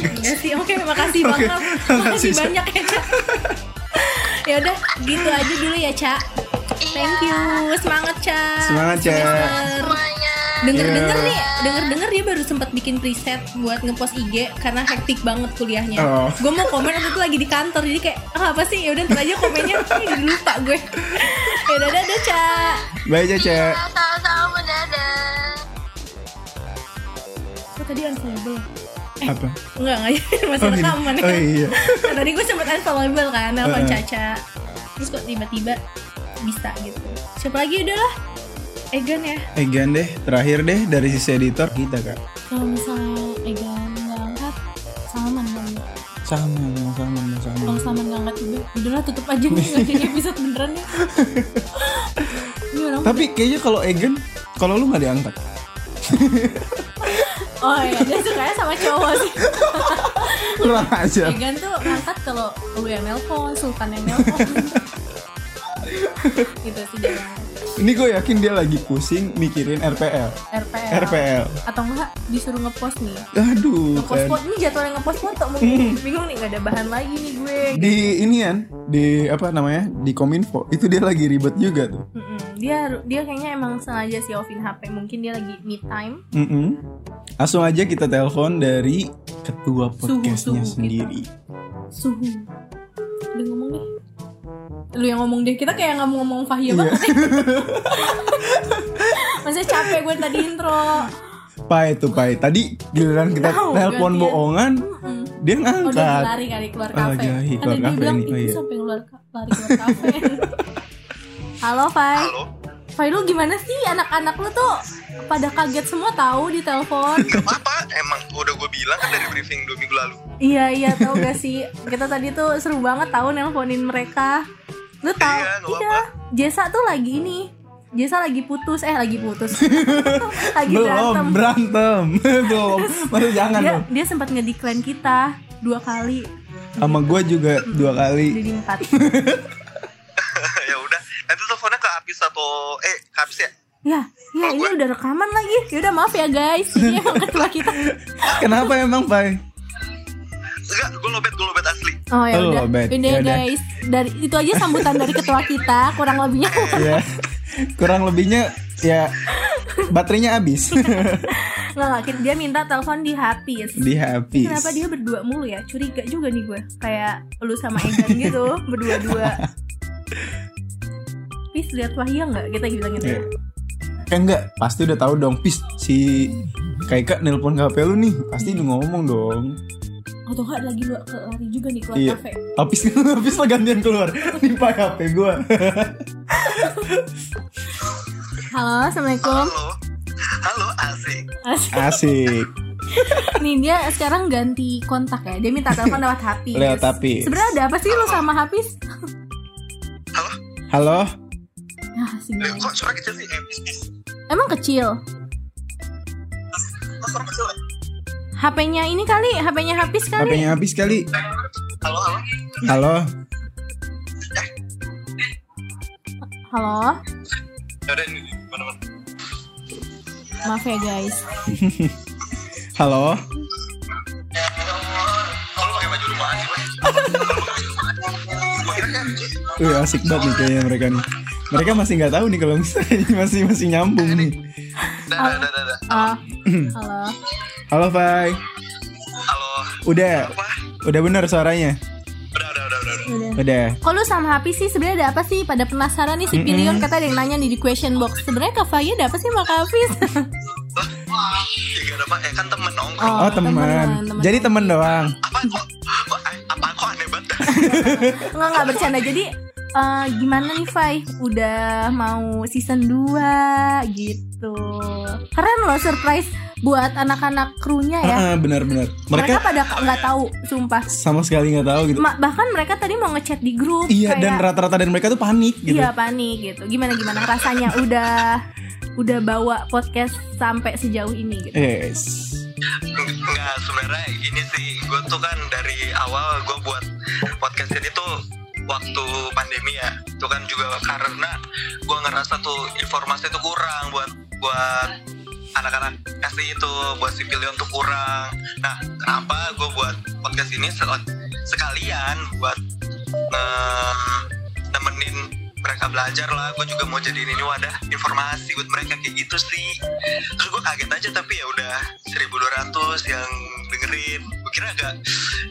Speaker 1: Iya sih, oke makasih
Speaker 2: Oke,
Speaker 1: banget.
Speaker 2: makasih,
Speaker 1: Makasih
Speaker 2: Ca.
Speaker 1: banyak ya, Ca. ya udah, gitu aja dulu ya, Ca. Thank you. Semangat, Ca.
Speaker 2: Semangat, Iya. Ca.
Speaker 4: semuanya
Speaker 1: Denger-denger
Speaker 2: Yeah.
Speaker 1: nih, denger-denger dia baru sempat bikin preset buat ngepost IG karena hektik banget kuliahnya.
Speaker 2: Oh.
Speaker 1: Gue mau komen waktu itu lagi di kantor, jadi kayak ah, apa sih? Ya udah ntar aja komennya, Ih, lupa gue. ya udah, dadah, Ca.
Speaker 2: Bye, Caca.
Speaker 4: ya sama-sama dadah
Speaker 1: Kok tadi unfollowable?
Speaker 2: Apa?
Speaker 1: Enggak, enggak. [laughs] Masih
Speaker 2: Oh, ini-
Speaker 1: rekaman
Speaker 2: oh, iya.
Speaker 1: Nah, tadi gue sempet unfollowable kan nelfon
Speaker 2: Heeh.
Speaker 1: Caca terus kok tiba-tiba bisa gitu siapa lagi udah lah Egan ya
Speaker 2: Egan Eh, deh, terakhir deh dari sisi editor kita, Kak.
Speaker 1: kalau misalnya Egan nggak angkat Salman kali ya.
Speaker 2: Sama, sama, sama.
Speaker 1: kalau Salman nggak angkat juga udahlah tutup aja nih nggak jadi episode beneran
Speaker 2: [laughs]
Speaker 1: nih ini orang
Speaker 2: Tapi kayaknya kalau Egan, kalau lu nggak diangkat.
Speaker 1: oh iya dia sukanya sama cowok sih
Speaker 2: Kurang aja.
Speaker 1: Egan tuh ngangkat kalau lu yang nelpon Sultan yang
Speaker 2: [laughs]
Speaker 1: nelpon gitu sih dia
Speaker 2: Ini gue yakin dia lagi pusing mikirin RPL.
Speaker 1: RPL
Speaker 2: RPL.
Speaker 1: atau enggak disuruh ngepost nih
Speaker 2: Aduh,
Speaker 1: ngepost
Speaker 2: kan.
Speaker 1: foto ini jadwalnya ngepost foto mungkin bingung nih nggak ada bahan lagi nih gue
Speaker 2: Hmm. Di inian, di apa namanya? Di Kominfo. Itu dia lagi ribet juga tuh.
Speaker 1: Mm-mm. dia dia kayaknya emang sengaja sih offin HP mungkin dia lagi me time
Speaker 2: Mm-mm. Langsung aja kita telepon dari ketua
Speaker 1: Suhu,
Speaker 2: podcastnya
Speaker 1: suhu
Speaker 2: sendiri.
Speaker 1: suhu udah ngomong deh lu yang ngomong deh kita kayak nggak mau ngomong
Speaker 2: Iya.
Speaker 1: Fahia banget
Speaker 2: [laughs]
Speaker 1: Maksudnya capek gue tadi intro
Speaker 2: Pai itu Pai. Tadi giliran kita
Speaker 1: Tahu,
Speaker 2: telepon
Speaker 1: gantian.
Speaker 2: bohongan,
Speaker 1: Mm-mm.
Speaker 2: dia
Speaker 1: Oh dia lagi
Speaker 2: ngangkat.
Speaker 1: lari kali keluar
Speaker 2: Oh,
Speaker 1: kafe
Speaker 2: lagi lari
Speaker 1: Ada
Speaker 2: keluar
Speaker 1: dia
Speaker 2: kafe
Speaker 1: bilang
Speaker 2: nih, oh,
Speaker 1: ini
Speaker 2: iya.
Speaker 1: sampai keluar ka- lari keluar
Speaker 2: [laughs]
Speaker 1: kafe Halo Fai
Speaker 3: Halo,
Speaker 1: Fai lu gimana sih anak-anak lu tuh pada kaget semua tahu di
Speaker 2: [laughs]
Speaker 1: telepon
Speaker 3: kenapa? Emang udah gue bilang kan dari briefing dua minggu lalu. [laughs]
Speaker 1: Iya iya tau gak sih kita tadi tuh seru banget tahu nelponin mereka. Lu tahu?
Speaker 3: Iya, nggak
Speaker 1: iya. Jesa tuh lagi ini. Jesa lagi putus eh lagi
Speaker 2: [laughs]
Speaker 1: putus. lagi
Speaker 2: Belum
Speaker 1: berantem.
Speaker 2: berantem. [laughs] Belum. Masih jangan
Speaker 1: Dia
Speaker 2: dong.
Speaker 1: dia sempat ngedecline kita dua kali
Speaker 2: Sama gue juga dua kali.
Speaker 1: jadi empat.
Speaker 3: ya udah, nanti teleponnya ke Apis atau eh ke Apis ya?
Speaker 1: Ya, ya ini udah rekaman lagi. Ya udah maaf ya guys. Ini emang ketua kita.
Speaker 2: Kenapa emang
Speaker 1: [laughs]
Speaker 2: Pak?
Speaker 3: Enggak, gue lobet, gue lobet asli.
Speaker 1: Oh ya
Speaker 2: Oh,
Speaker 1: udah.
Speaker 2: bad.
Speaker 1: Ini
Speaker 2: Ya udah.
Speaker 1: guys, dari itu aja sambutan dari ketua kita. Kurang lebihnya
Speaker 2: ya kurang lebihnya ya baterainya habis [laughs]
Speaker 1: nggak nggak. Dia minta telepon di habis.
Speaker 2: di habis.
Speaker 1: Kenapa dia berdua mulu ya? Curiga juga nih gue. Kayak lu sama Egan gitu,
Speaker 2: [laughs]
Speaker 1: berdua-dua. Pis lihat Wahya nggak? Kita bilang gitu.
Speaker 2: Ya. Eh enggak, pasti udah tahu dong. Pis si Kaika nelpon HP lu nih, pasti udah ngomong dong.
Speaker 1: Atau nggak lagi lu ke lari juga nih keluar
Speaker 2: Iya.
Speaker 1: kafe.
Speaker 2: Habis [laughs] habis lah gantian keluar. Nimpa HP gua. [laughs]
Speaker 1: Halo, assalamualaikum.
Speaker 3: Halo. Halo, asik.
Speaker 1: Asik.
Speaker 2: Asik.
Speaker 1: Nih dia sekarang ganti kontak ya. Dia minta telepon lewat Hafiz.
Speaker 2: Lewat Hafiz.
Speaker 1: Iya, Sebenarnya ada apa sih lu sama Hafiz?
Speaker 3: Halo.
Speaker 2: Halo,
Speaker 1: Ah,
Speaker 3: Eh,
Speaker 1: sinyalnya.
Speaker 3: Kok suara kecil sih? Eh, bis, bis.
Speaker 1: Emang kecil.
Speaker 3: Kok suara kecil? eh?
Speaker 1: HP-nya ini kali, HP-nya Hafiz kali.
Speaker 2: HP-nya habis kali.
Speaker 3: Halo, halo.
Speaker 1: Halo.
Speaker 2: Halo.
Speaker 3: Yaudah, Ya ini mana-mana.
Speaker 1: Maaf ya guys.
Speaker 2: Halo.
Speaker 3: Kalau pakai baju rumahan sih, Mas. Gua kira kan,
Speaker 2: Wih, asik banget nih kayaknya mereka nih. Mereka masih nggak tahu nih kalau misalnya ini masih masih nyambung nih.
Speaker 3: dah, dah, dah, dah, dah.
Speaker 2: [clears throat]
Speaker 1: Oh. Halo.
Speaker 2: Halo, Fai.
Speaker 3: Halo.
Speaker 2: Udah.
Speaker 3: Apa?
Speaker 2: Udah bener suaranya.
Speaker 3: Udah, udah, udah, udah. udah.
Speaker 1: Udah.
Speaker 2: Udah.
Speaker 1: Kok lu sama Hafiz sih sebenarnya ada apa sih? Pada penasaran nih si Pilion kata ada yang nanya nih di question box. Sebenarnya Kak Fahya ada apa sih sama Kak Hafiz?
Speaker 3: Wah, ya gak ada apa, eh kan temen nongkrong.
Speaker 2: [laughs] Oh, teman. Jadi teman doang.
Speaker 3: Apa kok? kok- Apa kok aneh banget?
Speaker 1: Enggak enggak bercanda. Jadi eh, gimana nih Fai? Udah mau season 2 gitu. Keren loh surprise buat anak-anak krunya ya.
Speaker 2: Heeh, benar-benar.
Speaker 1: Mereka,
Speaker 2: Mereka
Speaker 1: pada nggak tahu, sumpah.
Speaker 2: sama sekali nggak tahu gitu.
Speaker 1: Ma- bahkan mereka tadi mau ngechat di grup
Speaker 2: Iya,
Speaker 1: kayak,
Speaker 2: dan rata-rata dan mereka tuh panik gitu.
Speaker 1: Iya panik gitu. Gimana gimana rasanya udah udah bawa podcast sampai sejauh ini gitu.
Speaker 2: Yes.
Speaker 3: Enggak, sebenarnya gini sih, gue tuh kan dari awal gue buat podcast ini tuh waktu pandemi ya, itu kan juga karena gue ngerasa tuh informasi tuh kurang buat buat anak-anak SI itu buat sipilion tuh kurang. Nah, kenapa gue buat podcast ini sel- sekalian buat eh, nemenin mereka belajar lah, gue juga mau jadiin ini wadah informasi buat mereka kayak gitu sih terus gue kaget aja tapi ya udah 1200 yang dengerin gue kira gak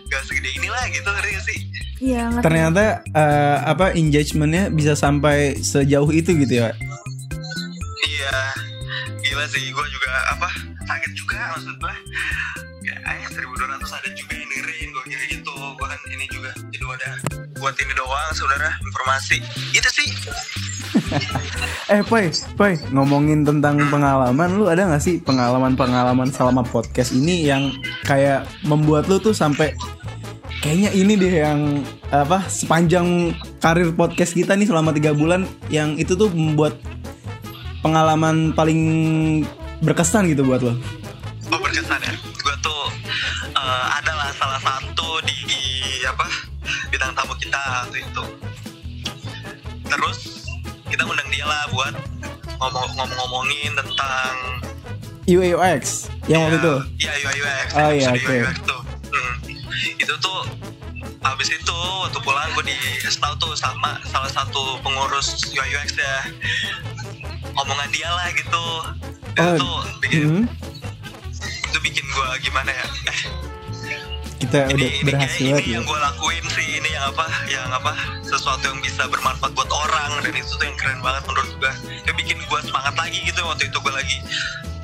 Speaker 3: gak segede inilah gitu ngerti gak sih
Speaker 1: Iya ngerti.
Speaker 2: Ternyata eh, apa engagementnya bisa sampai sejauh itu gitu ya. Pak?
Speaker 3: iya gila sih gue juga apa kaget juga maksud gue ya eh 1200 ada juga yang dengerin gue kira gitu gue kan ini juga jadi wadah buat ini doang saudara informasi itu sih
Speaker 2: Eh, Pai, Pai, ngomongin tentang pengalaman, lu ada nggak sih pengalaman-pengalaman selama podcast ini yang kayak membuat lu tuh sampai kayaknya ini deh yang apa sepanjang karir podcast kita nih selama tiga bulan yang itu tuh membuat pengalaman paling berkesan gitu buat lo.
Speaker 3: gue berkesan ya gue tuh eh, adalah salah satu di, apa bintang tamu kita waktu itu terus kita ngundang dia lah buat ngomong- ngomong-ngomongin tentang
Speaker 2: UAUX yang waktu
Speaker 3: ya,
Speaker 2: itu.
Speaker 3: iya UIUX
Speaker 2: Oh, iya,
Speaker 3: episode
Speaker 2: oke.
Speaker 3: UIUX tuh Hmm. itu tuh habis itu waktu pulang gue di tahu tuh sama salah satu pengurus UIUX ya omongan dia lah gitu
Speaker 2: Oh,
Speaker 3: dan tuh bikin
Speaker 2: hmm,
Speaker 3: itu bikin gue gimana ya eh,
Speaker 2: kita
Speaker 3: ini
Speaker 2: udah
Speaker 3: ini
Speaker 2: berhasil
Speaker 3: kayak
Speaker 2: banget
Speaker 3: ini
Speaker 2: ya.
Speaker 3: yang gue lakuin sih ini yang apa yang apa sesuatu yang bisa bermanfaat buat orang dan itu tuh yang keren banget menurut gue ya bikin gue semangat lagi gitu waktu itu gue lagi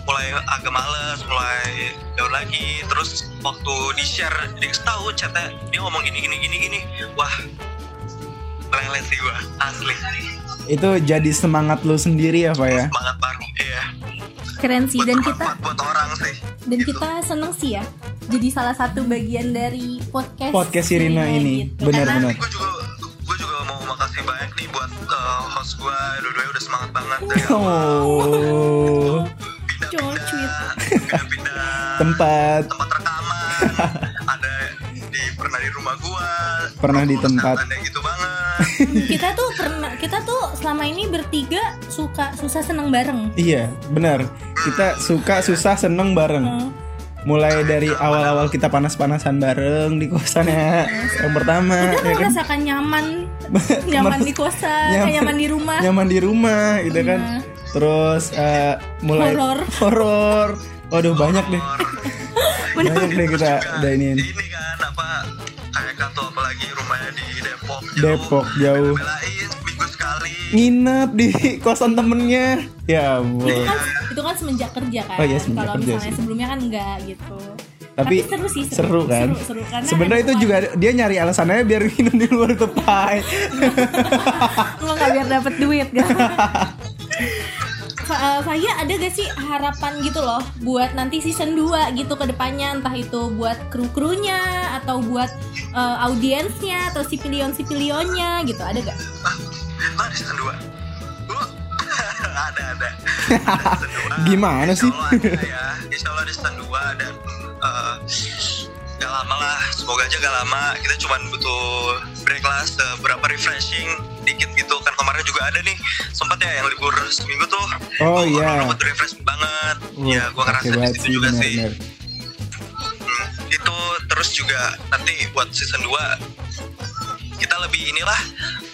Speaker 3: mulai agak males mulai down lagi terus waktu di share dia tahu chatnya dia ngomong gini gini gini gini wah lele sih gue asli
Speaker 2: Itu jadi semangat lu sendiri ya, Pak ya.
Speaker 3: semangat baru iya
Speaker 1: Keren sih
Speaker 3: buat
Speaker 1: dan kita
Speaker 3: bermanfaat buat orang sih
Speaker 1: dan
Speaker 3: Gitu.
Speaker 1: kita seneng sih ya. Jadi salah satu bagian dari podcast gitu.
Speaker 2: Podcast Sirina ini,
Speaker 1: Karena-
Speaker 2: benar-benar.
Speaker 3: gue juga gue juga mau makasih banyak nih buat eh, host gue dua-duanya udah semangat banget dari
Speaker 2: Oh,
Speaker 1: Cowok cuit.
Speaker 3: pindah-pindah pindah-pindah
Speaker 2: tempat
Speaker 3: tempat rekaman ada di pernah di rumah gue
Speaker 2: Pernah di tempat.
Speaker 3: gitu banget
Speaker 1: kita tuh pernah kita tuh selama ini bertiga suka susah seneng bareng.
Speaker 2: Iya, benar. Kita suka susah seneng bareng.
Speaker 1: Hmm.
Speaker 2: Mulai dari awal-awal kita panas-panasan bareng di kosannya. Yang pertama,
Speaker 1: Kita
Speaker 2: ya kan?
Speaker 1: merasakan
Speaker 2: [laughs]
Speaker 1: nyaman, nyaman di kosan, nyaman,
Speaker 2: Nyaman-
Speaker 1: di rumah. Iya.
Speaker 2: Nyaman di rumah, gitu kan. Terus eh, mulai
Speaker 1: Horor.
Speaker 2: horor. Waduh banyak deh, banyak deh
Speaker 3: Terus
Speaker 2: kita
Speaker 3: juga
Speaker 2: dainin.
Speaker 3: ini kan apa kayak atau apalagi rumahnya di Depok
Speaker 2: Depok, jauh.
Speaker 3: belain minggu sekali
Speaker 2: Nginep di kosan temennya.
Speaker 1: Itu
Speaker 2: Ya ampun.
Speaker 1: kan, itu kan semenjak kerja kan.
Speaker 2: Oh iya, semenjak
Speaker 1: Kalau
Speaker 2: kerja
Speaker 1: misalnya
Speaker 2: sih.
Speaker 1: sebelumnya kan enggak gitu.
Speaker 2: Tapi,
Speaker 1: seru sih,
Speaker 2: seru, kan.
Speaker 1: Seru, seru, karena
Speaker 2: Sebenarnya
Speaker 1: ada
Speaker 2: itu
Speaker 1: teman.
Speaker 2: juga dia nyari alasannya biar [laughs] minum di luar tepai.
Speaker 1: Enggak enggak biar dapat duit gitu. Fa- eh, Fahia ada gak sih harapan gitu loh buat nanti season 2 gitu ke depannya entah itu buat kru-krunya atau buat eh, audiensnya atau sipilion-sipilionnya gitu ada gak?
Speaker 3: [laughs] Nah, di season 2 Uh, [laughs] ada ada
Speaker 2: [laughs] Gimana sih?
Speaker 3: Insya Allah ada ya Insya Allah di season 2 dan eh, gak lama lah semoga aja gak lama kita cuman butuh break lah seberapa refreshing dikit gitu kan kemarin juga ada nih sempat ya yang libur seminggu tuh
Speaker 2: Oh,
Speaker 3: Tuh,
Speaker 2: iya.
Speaker 3: orang-orang butuh refreshing banget ya gua
Speaker 2: Oke
Speaker 3: ngerasa di
Speaker 2: banget
Speaker 3: situ
Speaker 2: sih,
Speaker 3: juga
Speaker 2: benar,
Speaker 3: sih
Speaker 2: benar.
Speaker 3: Hmm, itu terus juga nanti buat season 2 kita lebih inilah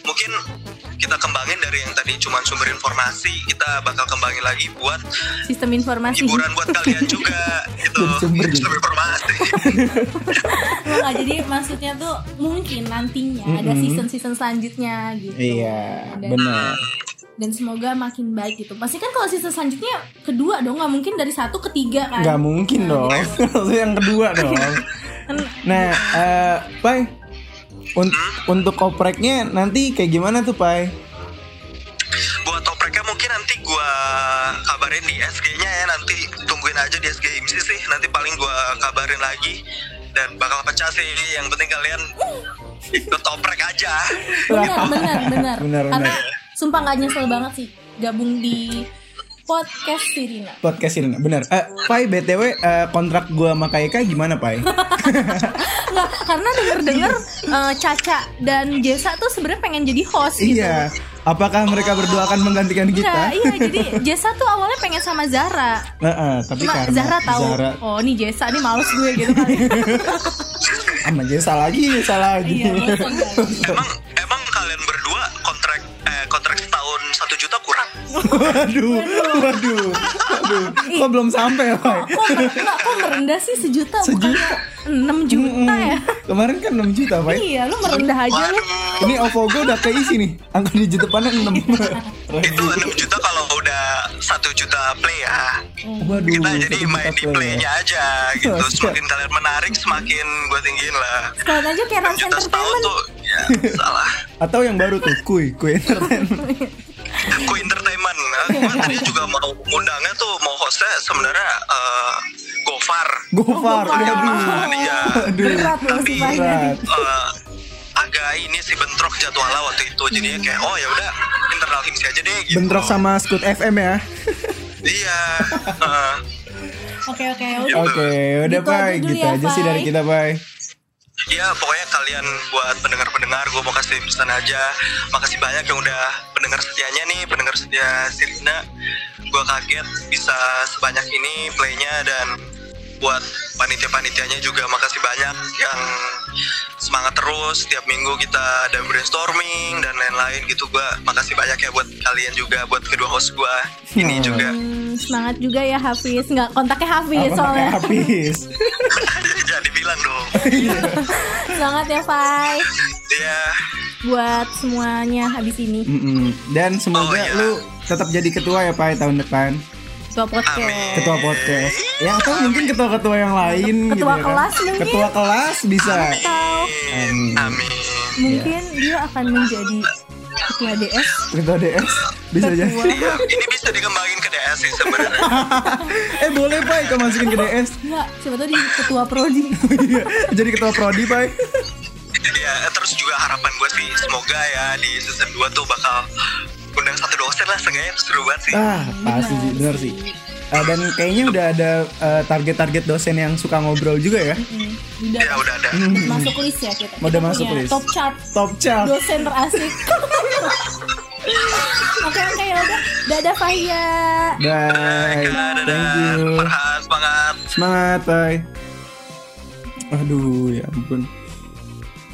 Speaker 3: mungkin kita kembangin dari yang tadi cuman sumber informasi kita bakal kembangin lagi buat
Speaker 1: Sistem informasi. [laughs]
Speaker 3: hiburan buat kalian
Speaker 2: [laughs]
Speaker 3: juga gitu
Speaker 2: Jadi sumber gitu.
Speaker 3: sumber informasi [laughs]
Speaker 1: Enggak, Oh, jadi maksudnya tuh mungkin nantinya ada
Speaker 2: Mm-mm.
Speaker 1: season-season selanjutnya gitu.
Speaker 2: Iya,
Speaker 1: Dan-
Speaker 2: benar.
Speaker 1: Dan semoga makin baik gitu. Pasti kan kalau season selanjutnya kedua dong, nggak mungkin dari satu ke tiga kan?
Speaker 2: Gak mungkin dong. [laughs] Maksudnya yang kedua dong.
Speaker 1: kan
Speaker 2: Nah, eh Pai, un- untuk kopreknya nanti kayak gimana tuh Pai?
Speaker 3: buat topreknya mungkin nanti gua kabarin di SG nya ya nanti tungguin aja di SG IMSI sih nanti paling gua kabarin lagi dan bakal pecah sih yang penting
Speaker 2: [laughs]
Speaker 3: kalian ikut toprek aja
Speaker 1: benar benar benar
Speaker 2: Benar,
Speaker 1: karena
Speaker 2: benar.
Speaker 1: sumpah nggak nyesel banget sih gabung di podcast Sirina
Speaker 2: Podcast ini benar. Eh, Pai BTW eh, kontrak gua sama KK gimana
Speaker 1: [laughs]
Speaker 2: Pai?
Speaker 1: nggak karena denger dengar Caca dan Jesa tuh sebenarnya pengen jadi host gitu
Speaker 2: iya. Apakah mereka berdua akan menggantikan
Speaker 1: Nggak,
Speaker 2: kita?
Speaker 1: iya jadi Jesa tuh awalnya pengen sama Zara
Speaker 2: Nah, eh, tapi
Speaker 1: cuma
Speaker 2: karena
Speaker 1: Zara tahu
Speaker 2: Zara
Speaker 1: oh nih Jesa nih males gue gitu
Speaker 2: [laughs]
Speaker 1: kan
Speaker 2: Ah, sama Jesa lagi, Jesa lagi.
Speaker 1: iya
Speaker 2: [laughs]
Speaker 1: bosan banget.
Speaker 3: Emang emang kalian berdua kontrak eh, kontrak setahun satu juta kurang?
Speaker 2: waduh, waduh, waduh. Kok belum sampai, Pai?
Speaker 1: kok nggak kok merendah sih sejuta, bukannya enam juta ya
Speaker 2: Kemarin kan 6 juta, Pai.
Speaker 1: iya lu merendah aja lu
Speaker 2: Ini OVO gue udah keisi nih Angka digit depannya 6
Speaker 3: Itu 6 juta kalau udah satu juta play ya.
Speaker 2: Waduh
Speaker 3: Kita jadi
Speaker 2: Hmm. satu
Speaker 3: main
Speaker 2: juta
Speaker 3: di
Speaker 2: play
Speaker 3: playnya
Speaker 2: ya.
Speaker 3: aja gitu.
Speaker 2: Wah,
Speaker 3: Semakin kalian menarik semakin gue tinggiin lah.
Speaker 1: sekarang aja kayak Rans
Speaker 3: Juta setahun
Speaker 1: Entertainment
Speaker 3: tuh ya salah.
Speaker 2: Atau yang baru tuh Kui Kui entertainment
Speaker 3: Ku entertainment. Nah, Gue tadinya juga mau undangnya tuh mau hostnya sebenarnya eh, Gofar.
Speaker 2: Gofar Waduh
Speaker 3: Iya.
Speaker 2: Aduh
Speaker 1: berat loh sih Fahnya
Speaker 2: Berat
Speaker 3: Eh, agak ini sih bentrok jadwalnya waktu itu jadinya kayak oh ya udah internal himsi aja deh gitu.
Speaker 2: Bentrok sama Scoot FM ya
Speaker 3: Iya. Heeh.
Speaker 1: Oke oke ya oke.
Speaker 2: Oke udah
Speaker 1: Gitu aja
Speaker 2: Pai
Speaker 1: dulu
Speaker 2: Gitu
Speaker 1: ya,
Speaker 2: aja sih
Speaker 1: Pai.
Speaker 2: dari kita Pai
Speaker 3: ya pokoknya kalian buat pendengar-pendengar gue mau kasih pesan aja. Makasih banyak yang udah pendengar setianya nih, pendengar setia Sirina. Gue kaget bisa sebanyak ini playnya dan buat panitia-panitianya juga makasih banyak yang semangat terus tiap minggu kita ada brainstorming dan lain-lain gitu gue makasih banyak ya buat kalian juga buat kedua host gue ini
Speaker 2: Hmm.
Speaker 3: juga [laughs]
Speaker 1: Hmm, semangat juga ya Hafiz. Nggak kontaknya Hafiz
Speaker 2: Apa
Speaker 1: soalnya.
Speaker 2: habis
Speaker 3: jangan dibilang dong
Speaker 1: semangat ya Fai.
Speaker 3: ya
Speaker 1: Buat semuanya habis ini.
Speaker 2: Mm-mm. Dan semoga
Speaker 3: Oh, iya.
Speaker 2: lu tetap jadi ketua ya Pai tahun depan
Speaker 1: Ketua podcast.
Speaker 3: Amin.
Speaker 2: Ketua podcast Ya atau mungkin ketua-ketua yang lain
Speaker 1: Ketua
Speaker 2: gitu ya kan.
Speaker 1: kelas mungkin.
Speaker 2: Ketua kelas bisa
Speaker 1: Atau
Speaker 3: amin, amin.
Speaker 1: mungkin
Speaker 2: Iya.
Speaker 1: dia akan menjadi ketua DS.
Speaker 2: Ketua DS Bisa jadi
Speaker 1: Ketua.
Speaker 3: Iya, ini bisa dikembangin ke DS sih
Speaker 2: [laughs]
Speaker 3: sebenarnya.
Speaker 2: Eh boleh Pai kau masukin ke DS
Speaker 1: Enggak, siapa tahu dia ketua prodi.
Speaker 2: Iya, jadi ketua prodi Pai
Speaker 3: ya, terus juga harapan gue sih semoga ya di season 2 tuh bakal undang satu dosen lah seenggaknya itu seru banget sih.
Speaker 2: ah pasti sih benar sih Eh, dan kayaknya udah ada eh, target-target dosen yang suka ngobrol juga ya.
Speaker 1: Mm-mm. Udah
Speaker 3: Ya udah ada.
Speaker 1: masuk list ya kita.
Speaker 2: Udah
Speaker 1: Kita
Speaker 2: masuk
Speaker 1: punya
Speaker 2: list.
Speaker 1: Top chart
Speaker 2: Top chart.
Speaker 1: dosen terasik. Oke oke ya udah. Dadah Fahia.
Speaker 2: Bye. Thank you.
Speaker 3: Farhan semangat.
Speaker 2: Semangat, Pai. Aduh, ya ampun.